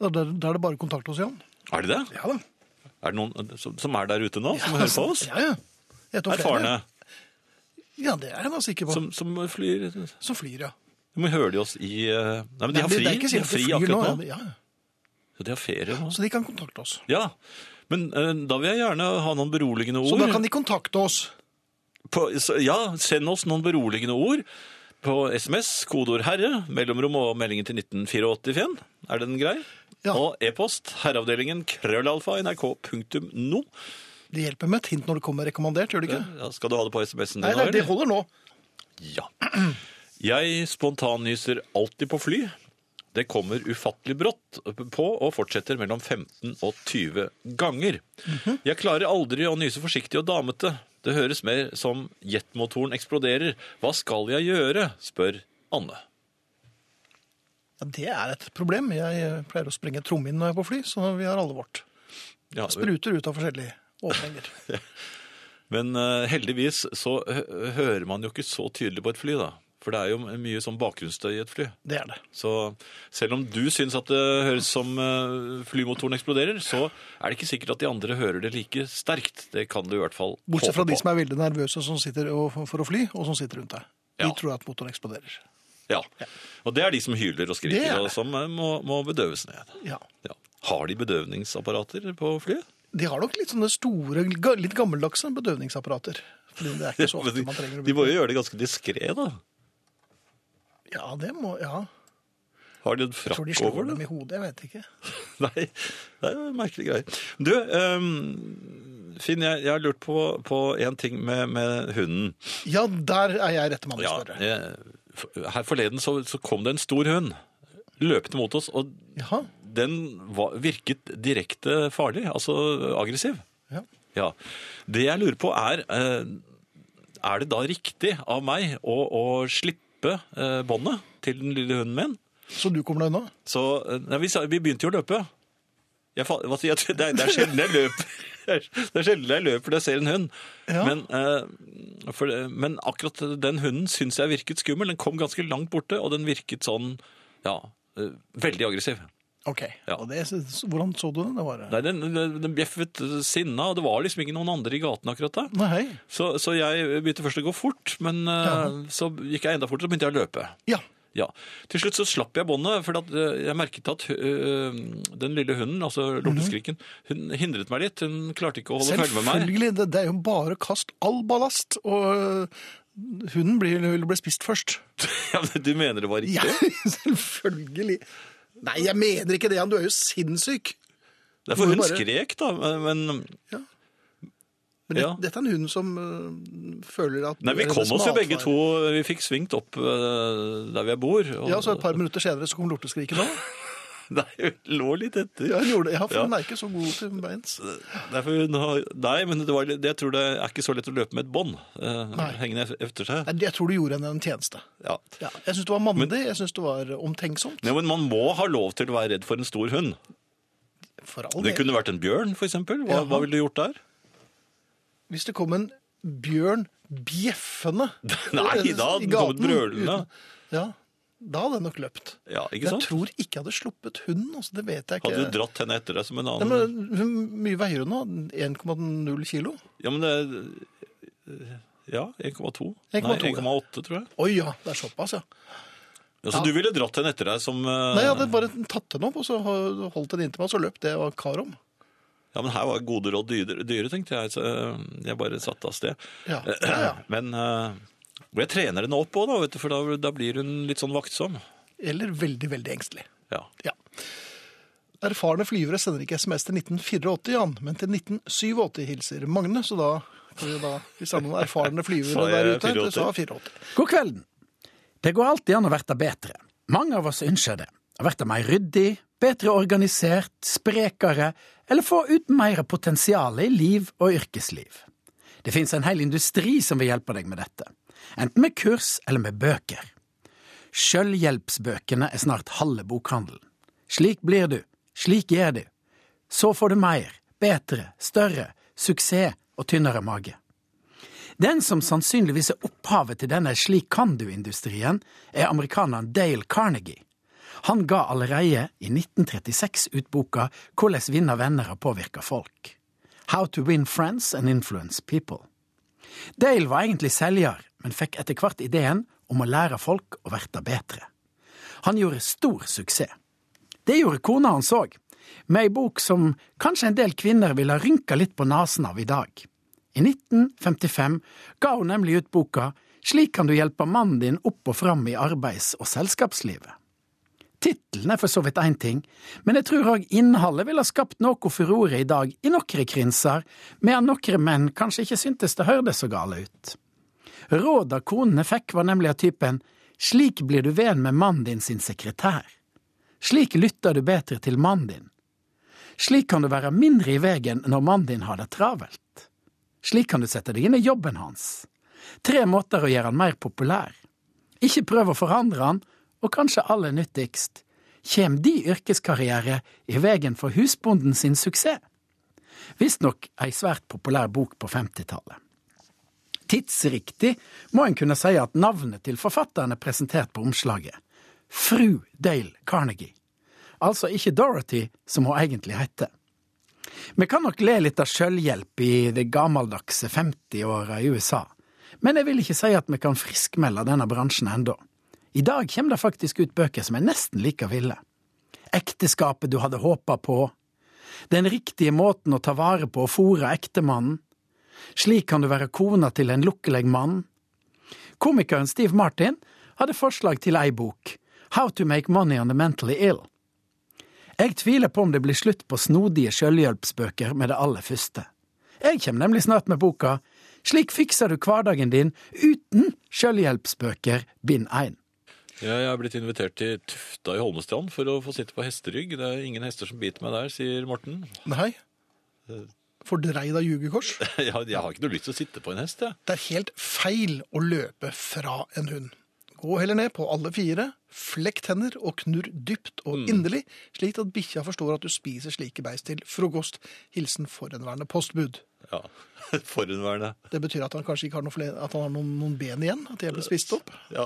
Speaker 1: Da da- da er det bare å kontakte oss, Jan.
Speaker 2: Er det det?
Speaker 1: Ja da.
Speaker 2: Er det noen som, som er der ute nå, som hører på oss?
Speaker 1: Ja, ja. Jeg vet om flere.
Speaker 2: Erfarne
Speaker 1: Ja, det er jeg da sikker på. Som,
Speaker 2: som, som flyr
Speaker 1: flyr, ja.
Speaker 2: Men hører de oss i eh, Nei, men de har
Speaker 1: Nei,
Speaker 2: fri,
Speaker 1: det er ikke
Speaker 2: de
Speaker 1: sikkert
Speaker 2: har
Speaker 1: at de
Speaker 2: fri
Speaker 1: flyr
Speaker 2: akkurat nå.
Speaker 1: Ja, ja.
Speaker 2: Ja, De har ferie nå.
Speaker 1: Så de kan kontakte oss.
Speaker 2: Ja, men eh, da vil jeg gjerne ha noen beroligende ord.
Speaker 1: Så da kan de kontakte oss.
Speaker 2: på, så, ja, send oss noen beroligende ord på SMS, kodeord 'herre', mellomrom og meldingen til 1984. Er den grei?
Speaker 1: Ja.
Speaker 2: Og e-post herreavdelingen krøllalfa nrk.no.
Speaker 1: Det hjelper med et hint når det kommer rekommandert, gjør det ikke?
Speaker 2: Ja, skal du ha det på SMS-en din?
Speaker 1: Nei,
Speaker 2: nå,
Speaker 1: nei,
Speaker 2: eller?
Speaker 1: det holder nå.
Speaker 2: Ja. Jeg spontannyser alltid på fly. Det kommer ufattelig brått på og fortsetter mellom 15 og 20 ganger. Jeg klarer aldri å nyse forsiktig og damete. Det høres mer som jetmotoren eksploderer. Hva skal jeg gjøre? spør Anne.
Speaker 1: Ja, det er et problem. Jeg eh, pleier å sprenge trommen når jeg er på fly, så vi har alle vårt.
Speaker 2: Ja,
Speaker 1: Spruter ut av forskjellige åpninger.
Speaker 2: men eh, heldigvis så hø- hører man jo ikke så tydelig på et fly, da. For det er jo mye sånn bakgrunnsstøy i et fly.
Speaker 1: Det er det.
Speaker 2: Så selv om du syns at det høres som eh, flymotoren eksploderer, så er det ikke sikkert at de andre hører det like sterkt. Det kan du i hvert fall
Speaker 1: Bortsett fra de som er veldig nervøse som sitter og, for å fly, og som sitter rundt deg. De
Speaker 2: Ja.
Speaker 1: tror at motoren eksploderer.
Speaker 2: Ja. Og det er de som hyler og
Speaker 1: Det er
Speaker 2: skriker,
Speaker 1: det.
Speaker 2: og som eh, må, må bedøves ned.
Speaker 1: Ja.
Speaker 2: Ja. Har de bedøvningsapparater på flyet?
Speaker 1: De har nok litt sånne store, ga- litt gammeldagse bedøvningsapparater. Fordi det er ikke så
Speaker 2: Men
Speaker 1: ofte man trenger å
Speaker 2: de, de må jo gjøre det ganske diskré, da.
Speaker 1: Ja, det må Ja.
Speaker 2: Har de en
Speaker 1: Jeg
Speaker 2: frakk
Speaker 1: tror de slår
Speaker 2: over det?
Speaker 1: dem i hodet, jeg vet ikke.
Speaker 2: Nei, det er jo merkelige greier. Du, ehm, Finn, jeg, jeg har lurt på, på en ting med, med hunden.
Speaker 1: Ja, der er jeg rette mann å
Speaker 2: Ja,
Speaker 1: spørre.
Speaker 2: eh, for- her forleden så, så kom det en stor hund løpende mot oss, og
Speaker 1: Jaha.
Speaker 2: den var, virket direkte farlig, altså aggressiv.
Speaker 1: Ja.
Speaker 2: Ja. Det jeg lurer på er, eh, er det da riktig av meg å, å slippe eh, båndet til den lille hunden min?
Speaker 1: Så du kommer deg unna?
Speaker 2: Så, eh, nei, vi, sa, vi begynte jo å løpe. Jeg, fa- hva sier jeg? det, er, det er sjelden jeg løper. er, det er sjelden jeg løper fordi jeg ser en hund.
Speaker 1: Ja.
Speaker 2: Men, eh, for, det- men akkurat den hunden syns jeg virket skummel. Den kom ganske langt borte, og den virket sånn ja, eh, veldig aggressiv.
Speaker 1: Ok,
Speaker 2: Ja.
Speaker 1: og det, Hvordan så du den? Det var, eh,
Speaker 2: Nei, den, den, den bjeffet sinna, og det var liksom ikke noen andre i gaten akkurat da.
Speaker 1: Nei, hei.
Speaker 2: Så, så jeg begynte først å gå fort, men eh, så gikk jeg enda fortere, og begynte jeg å løpe.
Speaker 1: Ja.
Speaker 2: Ja. Til slutt så slapp jeg båndet, for at, eh, jeg merket at eh, den lille hunden, altså lorteskriken, hun hindret meg litt. Hun klarte ikke å holde følge med meg.
Speaker 1: Selvfølgelig. Det, det er jo bare å kaste all ballast, og øh, hunden blir, vil bli spist først.
Speaker 2: Ja, men du mener det var riktig?
Speaker 1: Ja, selvfølgelig. Nei, jeg mener ikke det, Jan. Du er jo sinnssyk.
Speaker 2: Det er
Speaker 1: Du
Speaker 2: for hun
Speaker 1: må bare-
Speaker 2: skrek, da, men
Speaker 1: Men det,
Speaker 2: Ja.
Speaker 1: dette er en hund som øh, føler at
Speaker 2: Nei, vi
Speaker 1: det
Speaker 2: kom
Speaker 1: som
Speaker 2: oss jo begge
Speaker 1: atferd-
Speaker 2: to Vi fikk svingt opp eh, der vi bor. og-
Speaker 1: Ja, så et par minutter senere så kom lorteskriket nå.
Speaker 2: Nei, hun lå litt etter.
Speaker 1: Ja, hun gjorde det. Ja, for
Speaker 2: Ja.
Speaker 1: hun er ikke så god til beins.
Speaker 2: Derfor hun har, nei, men det var, litt- jeg tror det er ikke så lett å løpe med et bånd eh, hengende etter seg.
Speaker 1: Nei, Jeg tror du gjorde henne en tjeneste.
Speaker 2: Ja.
Speaker 1: Ja, jeg syns det var mandig, jeg syns det var omtenksomt.
Speaker 2: Nei, men man må ha lov til å være redd for en stor hund.
Speaker 1: For all
Speaker 2: Det
Speaker 1: del.
Speaker 2: kunne vært en bjørn, for eksempel. Hva,
Speaker 1: Jaha.
Speaker 2: hva ville du gjort der?
Speaker 1: Hvis det kom en bjørn bjeffende
Speaker 2: Nei, da hadde
Speaker 1: i
Speaker 2: den kommet
Speaker 1: gaten
Speaker 2: brølende.
Speaker 1: uten- Ja, da hadde jeg nok løpt.
Speaker 2: Ja, ikke
Speaker 1: Jeg
Speaker 2: sant?
Speaker 1: tror ikke jeg hadde sluppet hunden, altså, det vet jeg ikke.
Speaker 2: Hadde du dratt henne etter deg som en
Speaker 1: Nei,
Speaker 2: annen?
Speaker 1: men Hvor mye veier hun nå? 1,0 kilo?
Speaker 2: Ja, men det... Ja, 1,2. Nei,
Speaker 1: 1,2, ja.
Speaker 2: 1,8 tror jeg.
Speaker 1: Oi ja, det er såpass, ja.
Speaker 2: Ja, så du ville dratt henne etter deg som... eh,
Speaker 1: Nei, jeg hadde bare tatt den opp, og så holdt den inntil meg, og så løp det jeg var kar om.
Speaker 2: Ja, men her var gode råd dyre, dyre tenkte jeg. Så eh, jeg bare satte av sted.
Speaker 1: Ja, ja, ja.
Speaker 2: Men eh, og jeg trener henne opp òg, da, vet du, for da, da blir hun litt sånn vaktsom.
Speaker 1: Eller veldig, veldig engstelig.
Speaker 2: Ja.
Speaker 1: Ja. Erfarne flyvere sender ikke SMS til 1984, Jan, men til 1987, hilser Magne. Så da kan vi jo da, hvis det er noen erfarne
Speaker 2: Så
Speaker 1: flyvere
Speaker 2: er
Speaker 1: der
Speaker 2: jeg
Speaker 1: ute,
Speaker 2: 84.
Speaker 1: så er 84.
Speaker 4: God kvelden. Det går alltid an å verte bedre. Mange av oss ønsker det. Å verte meir ryddig, bedre organisert, sprekare, eller få ut meir potensial i liv og yrkesliv. Det finnes en hel industri som vil hjelpe deg med dette, enten med kurs eller med bøker. Sjølvhjelpsbøkene er snart halve bokhandelen. Slik blir du, slik gjør du. Så får du meir, bedre, større, suksess og tynnere mage. Den som sannsynligvis er opphavet til denne slik kan du-industrien, er amerikaneren Dale Carnegie. Han ga allerede i 1936 ut boka Hvordan vinne venner og påvirke folk. How to win friends and influence people. Dale var egentlig selger, men fikk etter hvert ideen om å lære folk å verte bedre. Han gjorde stor suksess. Det gjorde kona hans òg, med ei bok som kanskje en del kvinner ville rynka litt på nesen av i dag. I 1955 ga hun nemlig ut boka Slik kan du hjelpe mannen din opp og fram i arbeids- og selskapslivet. Tittelen er for så vidt én ting, men jeg tror òg innholdet ville ha skapt noe furore i dag i nokre krinser, medan nokre menn kanskje ikke syntes det hørtes så gale ut. Råda konene fikk var nemlig av typen Slik blir du venn med mannen din sin sekretær. Slik lytter du bedre til mannen din. Slik kan du være mindre i veien når mannen din har det travelt. Slik kan du sette deg inn i jobben hans. Tre måter å gjøre han mer populær. Ikke prøv å forandre han, og kanskje aller nyttigst, kjem de yrkeskarriere i veien for husbonden sin suksess. Visstnok ei svært populær bok på 50-tallet. Tidsriktig må en kunne si at navnet til forfatteren er presentert på omslaget. Fru Dale Carnegie. Altså ikke Dorothy, som hun egentlig heter. Vi kan nok le litt av sjølhjelp i det gammeldagse 50-åra i USA, men jeg vil ikke si at vi kan friskmelde denne bransjen ennå. I dag kommer det faktisk ut bøker som er nesten like ville. Ekteskapet du hadde håpa på. Den riktige måten å ta vare på og fôre ektemannen. Slik kan du være kona til en lukkelig mann. Komikeren Steve Martin hadde forslag til ei bok, How to make money on the mentally ill. Jeg tviler på om det blir slutt på snodige selvhjelpsbøker med det aller første. Jeg kommer nemlig snart med boka Slik fikser du hverdagen din uten selvhjelpsbøker, bind én.
Speaker 2: Jeg er blitt invitert til Tufta i Holmestrand for å få sitte på hesterygg. Det er ingen hester som biter meg der, sier Morten.
Speaker 1: Nei. Fordreid av jugekors.
Speaker 2: Jeg, jeg har ikke noe lyst til å sitte på en hest, jeg.
Speaker 1: Det er helt feil å løpe fra en hund. og heller ned på alle fire. Flekk tenner og knurr dypt og inderlig, slik at bikkja forstår at du spiser slike beist til frokost. Hilsen forhenværende postbud.
Speaker 2: Ja, forhenværende.
Speaker 1: Det betyr at han kanskje ikke har noen, flere, at han har noen, noen ben igjen? At de hele er spist opp?
Speaker 2: Ja,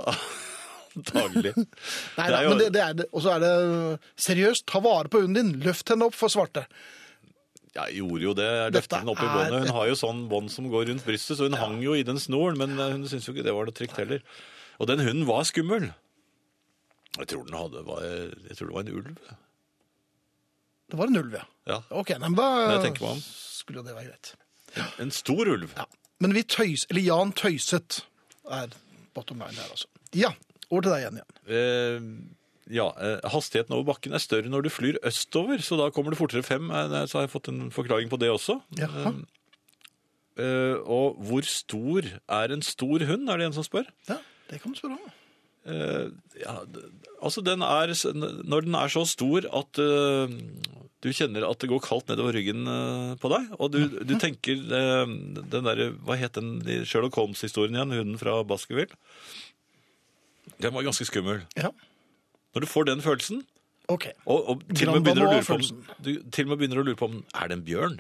Speaker 2: antagelig.
Speaker 1: Nei,
Speaker 2: Det
Speaker 1: da,
Speaker 2: er jo-
Speaker 1: men det, det er det. Og så er det seriøst, ta vare på hunden din. Løft henne opp for svarte.
Speaker 2: Jeg gjorde jo det. Jeg
Speaker 1: Dette
Speaker 2: løftet henne opp i
Speaker 1: er-
Speaker 2: båndet. Hun har jo sånn bånd som går rundt brystet, så hun hang jo i den snoren, men eh, hun syntes jo ikke det var noe trygt heller. Og den hunden var skummel. Jeg tror, den hadde, var, jeg tror det var en ulv.
Speaker 1: Det var en ulv, ja.
Speaker 2: Ja,
Speaker 1: Ok, nei, men da
Speaker 2: Men jeg tenker meg om.
Speaker 1: skulle jo det være greit.
Speaker 2: En stor ulv.
Speaker 1: Ja. Men vi tøys, eller Jan tøyset er bottom line her, altså. Ja, over til deg igjen, Jan.
Speaker 2: Eh, ja, eh, Hastigheten over bakken er større når du flyr østover, så da kommer du fortere frem. Eh, Så har jeg fått en forklaring på det også.
Speaker 1: Jaha.
Speaker 2: Eh, og hvor stor er en stor hund, er det en som spør.
Speaker 1: Ja, det kan du spørre om.
Speaker 2: Eh, ja, d- altså den er, s- når den er så stor at eh, du kjenner at det går kaldt nedover ryggen eh, på deg, og du,
Speaker 1: Mhm.
Speaker 2: du tenker eh, den der, hva het den i Sherlock Holmes-historien igjen, hunden fra Baskerville? Den var ganske skummel.
Speaker 1: Ja,
Speaker 2: Når du får den følelsen,
Speaker 1: ok.
Speaker 2: og, og til, og
Speaker 1: Grand
Speaker 2: med begynner å
Speaker 1: Danois
Speaker 2: lure på om,
Speaker 1: følelsen.
Speaker 2: du, til og med begynner å lure på om, er det en bjørn?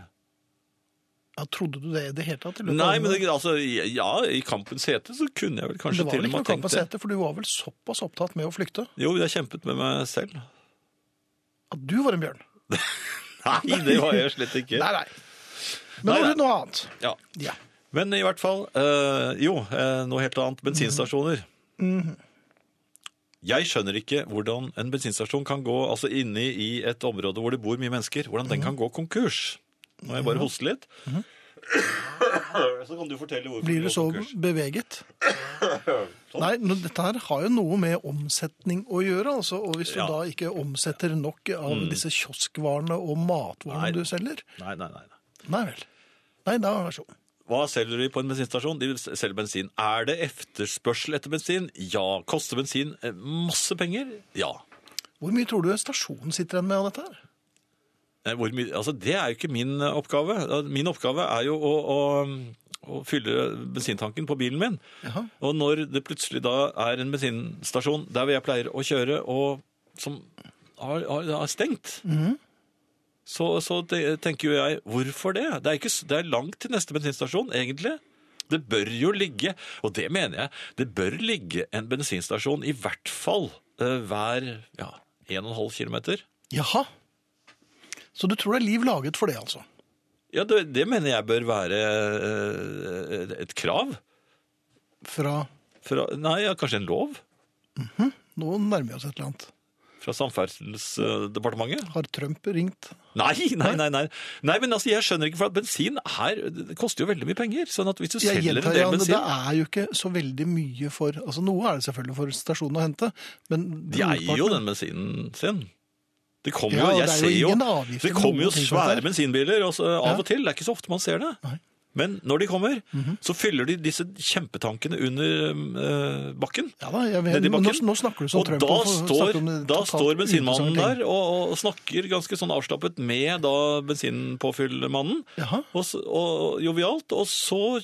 Speaker 1: Ja, trodde du det i det hele tatt? i løpet av
Speaker 2: Nei, men det,
Speaker 1: den-
Speaker 2: altså, ja, i kampens hete så kunne jeg vel
Speaker 1: Men
Speaker 2: kanskje
Speaker 1: det var
Speaker 2: til
Speaker 1: vel
Speaker 2: og
Speaker 1: ikke noe
Speaker 2: med
Speaker 1: kamp
Speaker 2: tenkt
Speaker 1: å
Speaker 2: det.
Speaker 1: sette, for du var vel såpass opptatt med å flykte
Speaker 2: Jo, jeg kjempet med meg selv.
Speaker 1: at du var en bjørn.
Speaker 2: Nei, det var jeg slett ikke.
Speaker 1: Nei, nei. Men nå
Speaker 2: Nei,
Speaker 1: er
Speaker 2: nei.
Speaker 1: det noe annet.
Speaker 2: Ja.
Speaker 1: Ja.
Speaker 2: Men i hvert fall, eh, jo, eh, noe helt annet. Bensinstasjoner. Jeg skjønner ikke hvordan en bensinstasjon kan gå, altså inne i et område hvor det bor mye mennesker, hvordan den kan gå konkurs. Nå må jeg bare hoste litt. Så kan du fortelle hvorfor
Speaker 1: Blir sånn? du
Speaker 2: den går
Speaker 1: så
Speaker 2: konkurs.
Speaker 1: beveget? Nei, nå, dette her har jo noe med omsetning å gjøre, altså. Og hvis du
Speaker 2: Ja. Mm.
Speaker 1: da ikke omsetter nok av disse kioskvarene og matvarene
Speaker 2: Nei.
Speaker 1: du selger
Speaker 2: Nei, nei, nei. nei.
Speaker 1: Nei vel. Nei, da vær så god.
Speaker 2: Hva selger de på en bensinstasjon? De selger bensin. Er det efterspørsel etter bensin? Ja. Koster bensin eh, masse penger? Ja.
Speaker 1: Hvor mye tror du stasjonen sitter igjen med av dette her?
Speaker 2: Eh, Hvor mye, altså det er jo ikke min eh, oppgave. Eh, Min oppgave er jo å, å, å fylle bensintanken på bilen min.
Speaker 1: Jaha.
Speaker 2: Og når det plutselig da er en bensinstasjon der hvor jeg pleier å kjøre, og som har, har, har stengt, så, så te- tenker jo jeg hvorfor det? Det er, ikke, s- det er langt til neste bensinstasjon, egentlig. Det bør jo ligge, og det mener jeg, det bør ligge en bensinstasjon i hvert fall eh, hver ja, 1,5 kilometer.
Speaker 1: Jaha. Så du tror det er liv laget for det, altså?
Speaker 2: Ja, det, det mener jeg bør være eh, et krav.
Speaker 1: Fra
Speaker 2: Fra, nei, ja, kanskje en lov
Speaker 1: Nå nærmer vi oss et eller annet.
Speaker 2: fra Samferdselsdepartementet?
Speaker 1: Har Trump ringt?
Speaker 2: Nei, nei, nei, nei. Nei, men altså, Jeg skjønner ikke, for at bensin her det koster jo veldig mye penger. sånn at hvis du
Speaker 1: Jeg
Speaker 2: selger en
Speaker 1: gjentar,
Speaker 2: del
Speaker 1: Jan, det
Speaker 2: bensin
Speaker 1: er jo ikke så veldig mye for Altså, noe er det selvfølgelig for stasjonen å hente, men
Speaker 2: De eier jo
Speaker 1: brorparten-
Speaker 2: den bensinen sin. Det kommer
Speaker 1: Ja, det
Speaker 2: jo, jeg
Speaker 1: er jo
Speaker 2: ser jo,
Speaker 1: ingen avgifter
Speaker 2: det
Speaker 1: eller
Speaker 2: kommer jo
Speaker 1: noen ting på
Speaker 2: svære
Speaker 1: dette.
Speaker 2: bensinbiler også, av
Speaker 1: Ja.
Speaker 2: og til. Det er ikke så ofte man ser det.
Speaker 1: Nei. Mhm.
Speaker 2: Men når de kommer, så fyller de disse kjempetankene under eh, bakken.
Speaker 1: Ja da, jeg
Speaker 2: nedi
Speaker 1: vet, nå,
Speaker 2: bakken.
Speaker 1: nå snakker du som
Speaker 2: og
Speaker 1: Trump.
Speaker 2: da
Speaker 1: og får-
Speaker 2: står,
Speaker 1: snakker om det
Speaker 2: da
Speaker 1: totalt
Speaker 2: står bensinmannen
Speaker 1: uinteressante ting.
Speaker 2: der og, og snakker ganske sånn avslappet med da bensinpåfyllmannen.
Speaker 1: Jaha.
Speaker 2: Og, s- og jovialt. Og så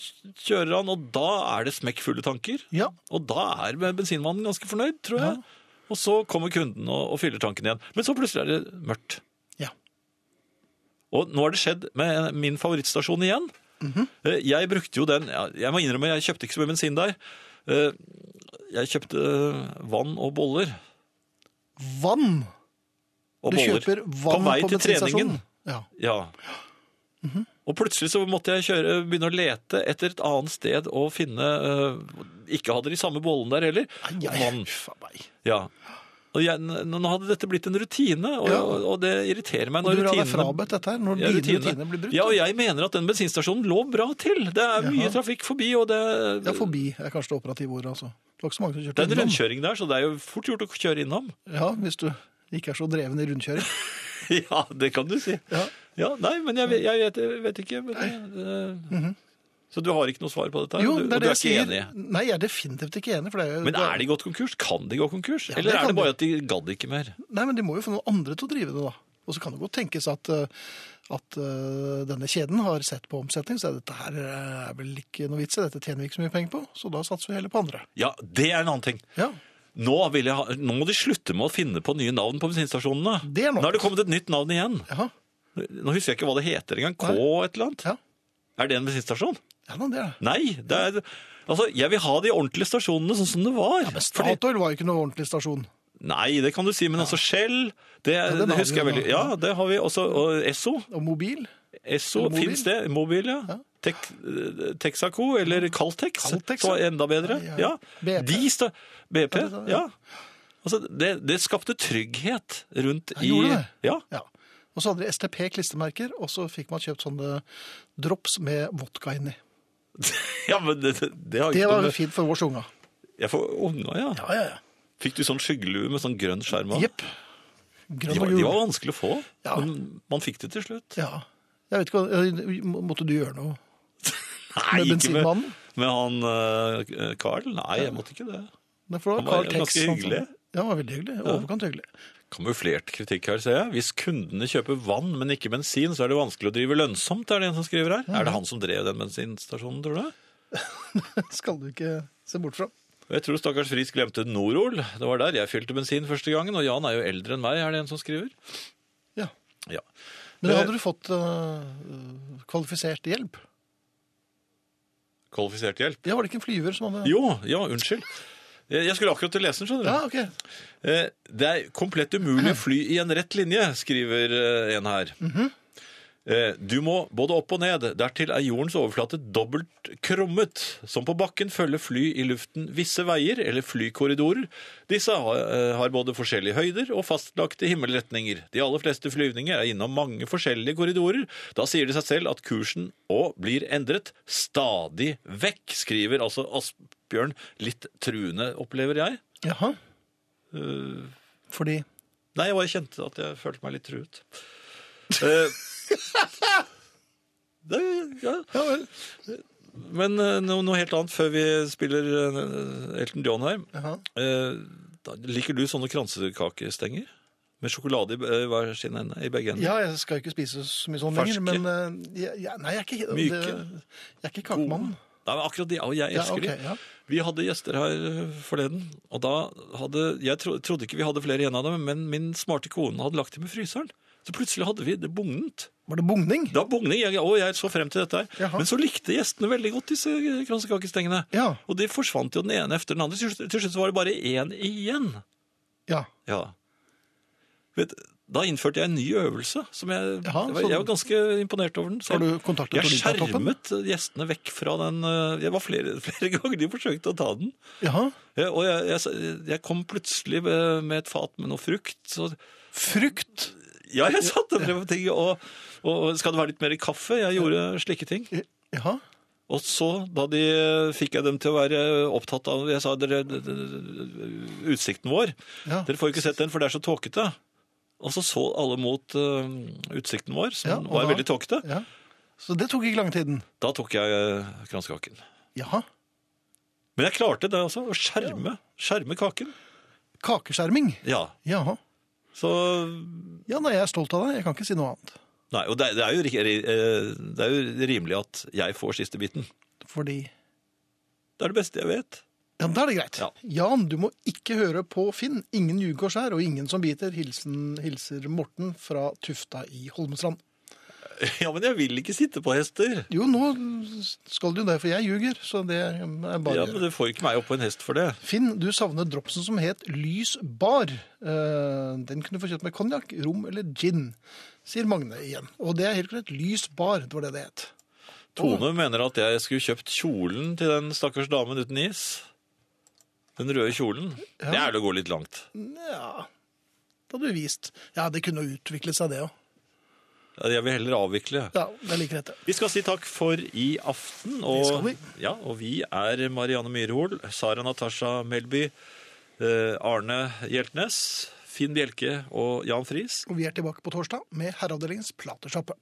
Speaker 2: kjører han, og da er det smekkfulle tanker.
Speaker 1: Ja.
Speaker 2: Og da er bensinmannen ganske fornøyd, tror jeg. Og så kommer kunden og, og fyller tanken igjen. Men så plutselig er det mørkt.
Speaker 1: ja.
Speaker 2: Og nå har det skjedd med min favorittstasjon igjen.
Speaker 1: Mhm.
Speaker 2: Eh, Jeg brukte jo den ja, Jeg må innrømme, jeg kjøpte ikke så mye bensin der. Eh, Jeg kjøpte eh, vann og boller.
Speaker 1: Vann!
Speaker 2: Og
Speaker 1: Du
Speaker 2: boller.
Speaker 1: kjøper vann på,
Speaker 2: vei til
Speaker 1: bensinstasjonen. Mhm.
Speaker 2: treningen.
Speaker 1: Ja.
Speaker 2: Ja. Og plutselig så måtte jeg kjøre, begynne å lete etter et annet sted og finne eh, Ikke hadde de samme bollene der heller. og
Speaker 1: Ja,
Speaker 2: vann.
Speaker 1: Uffa meg.
Speaker 2: Ja. Og jeg, n- nå hadde dette blitt en rutine, og,
Speaker 1: Ja.
Speaker 2: og, og det irriterer meg
Speaker 1: Og
Speaker 2: når
Speaker 1: du vil ha deg
Speaker 2: rutinene
Speaker 1: frabedt dette her, når
Speaker 2: Ja,
Speaker 1: dine
Speaker 2: rutine.
Speaker 1: rutiner blir brutt?
Speaker 2: Ja, og jeg mener at den bensinstasjonen lå bra til. Det er mye trafikk forbi, og det,
Speaker 1: Ja, forbi er kanskje det operative ordet, altså. Det var ikke så mange som
Speaker 2: det
Speaker 1: kjørte
Speaker 2: er en
Speaker 1: innom.
Speaker 2: rundkjøring der, så det er jo fort gjort å kjøre innom.
Speaker 1: Ja, hvis du ikke er så dreven i rundkjøring.
Speaker 2: ja, det kan du si.
Speaker 1: Ja.
Speaker 2: Ja, nei, men jeg, vet- jeg, vet, jeg vet ikke. Men, det- Så du har ikke noe svar på dette? her,
Speaker 1: Jo,
Speaker 2: og du,
Speaker 1: det
Speaker 2: og
Speaker 1: er det
Speaker 2: du Mhm. er
Speaker 1: jeg sier.
Speaker 2: ikke enig?
Speaker 1: Nei, jeg er definitivt ikke enig. For det er jo,
Speaker 2: Men er de gått konkurs? Kan de gå konkurs?
Speaker 1: Ja,
Speaker 2: Eller
Speaker 1: det
Speaker 2: er det
Speaker 1: kan
Speaker 2: bare
Speaker 1: de.
Speaker 2: at de gadd ikke mer?
Speaker 1: Nei, men de må jo få noen andre til å drive det, da. Og så kan det godt tenkes at, eh, at eh, denne kjeden har sett på omsetning, så dette her eh, er vel ikke noe vits i, dette tjener vi ikke så mye penger på, så da satser vi heller på andre.
Speaker 2: Ja, det er en annen ting.
Speaker 1: Ja,
Speaker 2: Nå, vil jeg ha, nå må de slutte med å finne på nye navn på bensinstasjonene.
Speaker 1: Det er nok.
Speaker 2: Nå er det kommet et nytt navn igjen.
Speaker 1: ja,
Speaker 2: Nå husker jeg ikke hva det heter engang. K et eller annet.
Speaker 1: ja.
Speaker 2: Er det en bensinstasjon?
Speaker 1: ja da, det er det.
Speaker 2: Nei. det er... Altså, jeg vil ha de ordentlige stasjonene sånn som det var. Fordi-
Speaker 1: Statoil var jo ikke noe ordentlig stasjon.
Speaker 2: Nei, det kan du si, men altså Shell det,
Speaker 1: den
Speaker 2: det
Speaker 1: har
Speaker 2: husker jeg
Speaker 1: vi jo
Speaker 2: veldig.
Speaker 1: da.
Speaker 2: Ja, det har vi også. Og Esso.
Speaker 1: Og mobil,
Speaker 2: Esso
Speaker 1: Mobil.
Speaker 2: fins det. Mobil, ja. Tek, eh, Texaco eller Caltex,
Speaker 1: Caltex,
Speaker 2: som var
Speaker 1: ja.
Speaker 2: enda bedre.
Speaker 1: Ja,
Speaker 2: Ja.
Speaker 1: ja. BP.
Speaker 2: De sta BP,
Speaker 1: Ja, det sa- ja.
Speaker 2: ja. Altså, det, det skapte trygghet rundt
Speaker 1: Ja,
Speaker 2: i
Speaker 1: gjorde det?
Speaker 2: Ja.
Speaker 1: ja. Og så hadde de STP-klistermerker, og så fikk man kjøpt sånne drops med vodka inni.
Speaker 2: ja, men det, det, det har
Speaker 1: Det
Speaker 2: ikke noe
Speaker 1: var
Speaker 2: med-
Speaker 1: fint for vårs unga.
Speaker 2: Ja, for unga, ja.
Speaker 1: Ja, ja, ja.
Speaker 2: Fikk du sånn skyggelue med sånn grønn skjerm av?
Speaker 1: Jepp.
Speaker 2: De
Speaker 1: Grønn og
Speaker 2: var, de
Speaker 1: gul.
Speaker 2: var vanskelig å få,
Speaker 1: Ja.
Speaker 2: men man fikk det til slutt.
Speaker 1: Ja. Jeg vet ikke, hva- må- Måtte du gjøre noe?
Speaker 2: Nei,
Speaker 1: Med
Speaker 2: ikke med,
Speaker 1: bensinmannen?
Speaker 2: med han eh, Carl. Nei, jeg måtte ikke det.
Speaker 1: Nei, for det
Speaker 2: Han var
Speaker 1: Carl Tex,
Speaker 2: ganske
Speaker 1: han
Speaker 2: hyggelig.
Speaker 1: som- Ja, han var veldig hyggelig. Overkant hyggelig.
Speaker 2: Kamuflert kritikk her, ser jeg. Hvis kundene kjøper vann, men ikke bensin, så er det vanskelig å drive lønnsomt, er det en som skriver her. Er det han som drev den bensinstasjonen, tror du?
Speaker 1: Skal du ikke se bort fra.
Speaker 2: Og Jeg tror stakkars Frisk glemte Norol. Det var der jeg fylte bensin første gangen, og Jan er jo eldre enn meg, er det en som skriver.
Speaker 1: Ja.
Speaker 2: Ja.
Speaker 1: Men
Speaker 2: Eh,
Speaker 1: hadde du fått øh, kvalifisert hjelp?
Speaker 2: Kvalifisert hjelp.
Speaker 1: Ja, var det ikke en flyver som hadde
Speaker 2: Jo, ja, unnskyld. Jeg jeg skulle akkurat til leseren, skjønner du.
Speaker 1: Ja, ok.
Speaker 2: Eh, Det er komplett umulig å fly i en rett linje, skriver eh, en her. Eh, Du må både opp og ned. Dertil er jordens overflate dobbelt krummet. Som på bakken følger fly i luften visse veier, eller flykorridorer. Disse har eh, har både forskjellige høyder og fastlagte himmelretninger. De aller fleste flyvninger er innom mange forskjellige korridorer. Da sier det seg selv at kursen òg blir endret stadig vekk, skriver altså Asbjørn litt truende, opplever jeg.
Speaker 1: Jaha.
Speaker 2: Eh.
Speaker 1: Fordi
Speaker 2: Nei, jeg bare kjente at jeg følte meg litt truet. Eh, det, ja.
Speaker 1: Ja vel.
Speaker 2: Men eh, noe, noe helt annet før vi spiller eh, Elton John her.
Speaker 1: Jaha.
Speaker 2: Eh, da, liker du sånne kransekakestenger? Med sjokolade i b- eh, hver sin ende? I begge ender?
Speaker 1: Ja, jeg skal jo ikke spise så mye sånn
Speaker 2: Ferske.
Speaker 1: lenger, men øh, jeg, jeg, Nei, jeg er ikke det-
Speaker 2: Myke.
Speaker 1: Jeg er ikke kakemannen.
Speaker 2: Nei, men akkurat de, og jeg
Speaker 1: Ja,
Speaker 2: elsker
Speaker 1: ok, ja.
Speaker 2: de. Vi hadde gjester her eh, forleden, og da hadde Jeg tro, trodde ikke vi hadde flere igjen av dem, men min smarte kone hadde lagt dem i fryseren. Så plutselig hadde vi det bugnet.
Speaker 1: Var det bugning?
Speaker 2: Da bugning, jeg, å, jeg så frem til dette her.
Speaker 1: Jaha.
Speaker 2: Men så likte gjestene veldig godt disse kransekakestengene.
Speaker 1: Ja.
Speaker 2: Og de forsvant jo den ene efter den andre. Til slutt- til slutt så var det bare én igjen.
Speaker 1: Ja.
Speaker 2: Ja. Vet, da innførte jeg en ny øvelse. Som jeg,
Speaker 1: Jaha,
Speaker 2: jeg, var,
Speaker 1: så-
Speaker 2: jeg var ganske imponert over den. Så
Speaker 1: Har du
Speaker 2: jeg-
Speaker 1: kontaktet
Speaker 2: Jeg
Speaker 1: Olympiatoppen?
Speaker 2: skjermet gjestene vekk fra den. øh, Jeg var flere, flere ganger de forsøkte å ta den.
Speaker 1: Jaha.
Speaker 2: Ja, Eh, Og jeg, jeg, jeg kom plutselig med med et fat med noe frukt. Så
Speaker 1: Frukt.
Speaker 2: ja, jeg satte frem ting. Og, og skal det være litt mer kaffe? Jeg gjorde slike ting.
Speaker 1: Jaha.
Speaker 2: Og så, da de fikk jeg dem til å være opptatt av Jeg sa dere, d- d- d- utsikten vår.
Speaker 1: Ja.
Speaker 2: Dere får jo ikke sett den, for det er så tåkete. Og så så alle mot eh, utsikten vår, som
Speaker 1: Ja, og
Speaker 2: var
Speaker 1: da?
Speaker 2: veldig tåkete.
Speaker 1: Ja. Så det tok ikke lang tiden.
Speaker 2: Da tok jeg uh, kranskaken.
Speaker 1: Jaha.
Speaker 2: Men jeg klarte det også, å skjerme, skjerme kaken.
Speaker 1: Kakeskjerming.
Speaker 2: Ja,
Speaker 1: Jaha.
Speaker 2: så
Speaker 1: Ja, nei, jeg er stolt av deg. Jeg kan ikke si noe annet.
Speaker 2: Nei, og det, er- det, er jo, ri- ri- eh, det er jo rimelig at jeg får siste biten.
Speaker 1: Fordi
Speaker 2: Det er det beste jeg vet.
Speaker 1: Ja, da er det greit.
Speaker 2: Ja.
Speaker 1: Jan, du må ikke høre på Finn. Ingen ljuger og skjær, og ingen som biter. Hilsen, hilser Morten fra Tufta i Holmestrand.
Speaker 2: Ja, men jeg vil ikke sitte på hester.
Speaker 1: Jo, nå skal du det, for jeg ljuger, så det er bare
Speaker 2: Ja, men Du får ikke meg opp på en hest for det.
Speaker 1: Finn, du savner dropsen som het Lys bar. Eh, Den kunne du få kjøpt med konjakk, rom eller gin, sier Magne igjen. Og det er helt korrekt. Lys bar, det var det det het.
Speaker 2: Tone mener at jeg skulle kjøpt kjolen til den stakkars damen uten is. Den røde kjolen. Det er vel å gå litt langt.
Speaker 1: Ja, det hadde du vist. Ja, det kunne jo utvikle seg, det òg.
Speaker 2: Jeg vil heller avvikle.
Speaker 1: Ja, det er like greit, det.
Speaker 2: Vi skal si takk for i aften. Og,
Speaker 1: Det skal vi.
Speaker 2: Ja, og vi er Marianne Myrhol, Sara Natasha Melby, eh, Arne Hjeltnes, Finn Bjelke og Jan Friis.
Speaker 1: Og vi er tilbake på torsdag med Herreavdelingens platesjappe.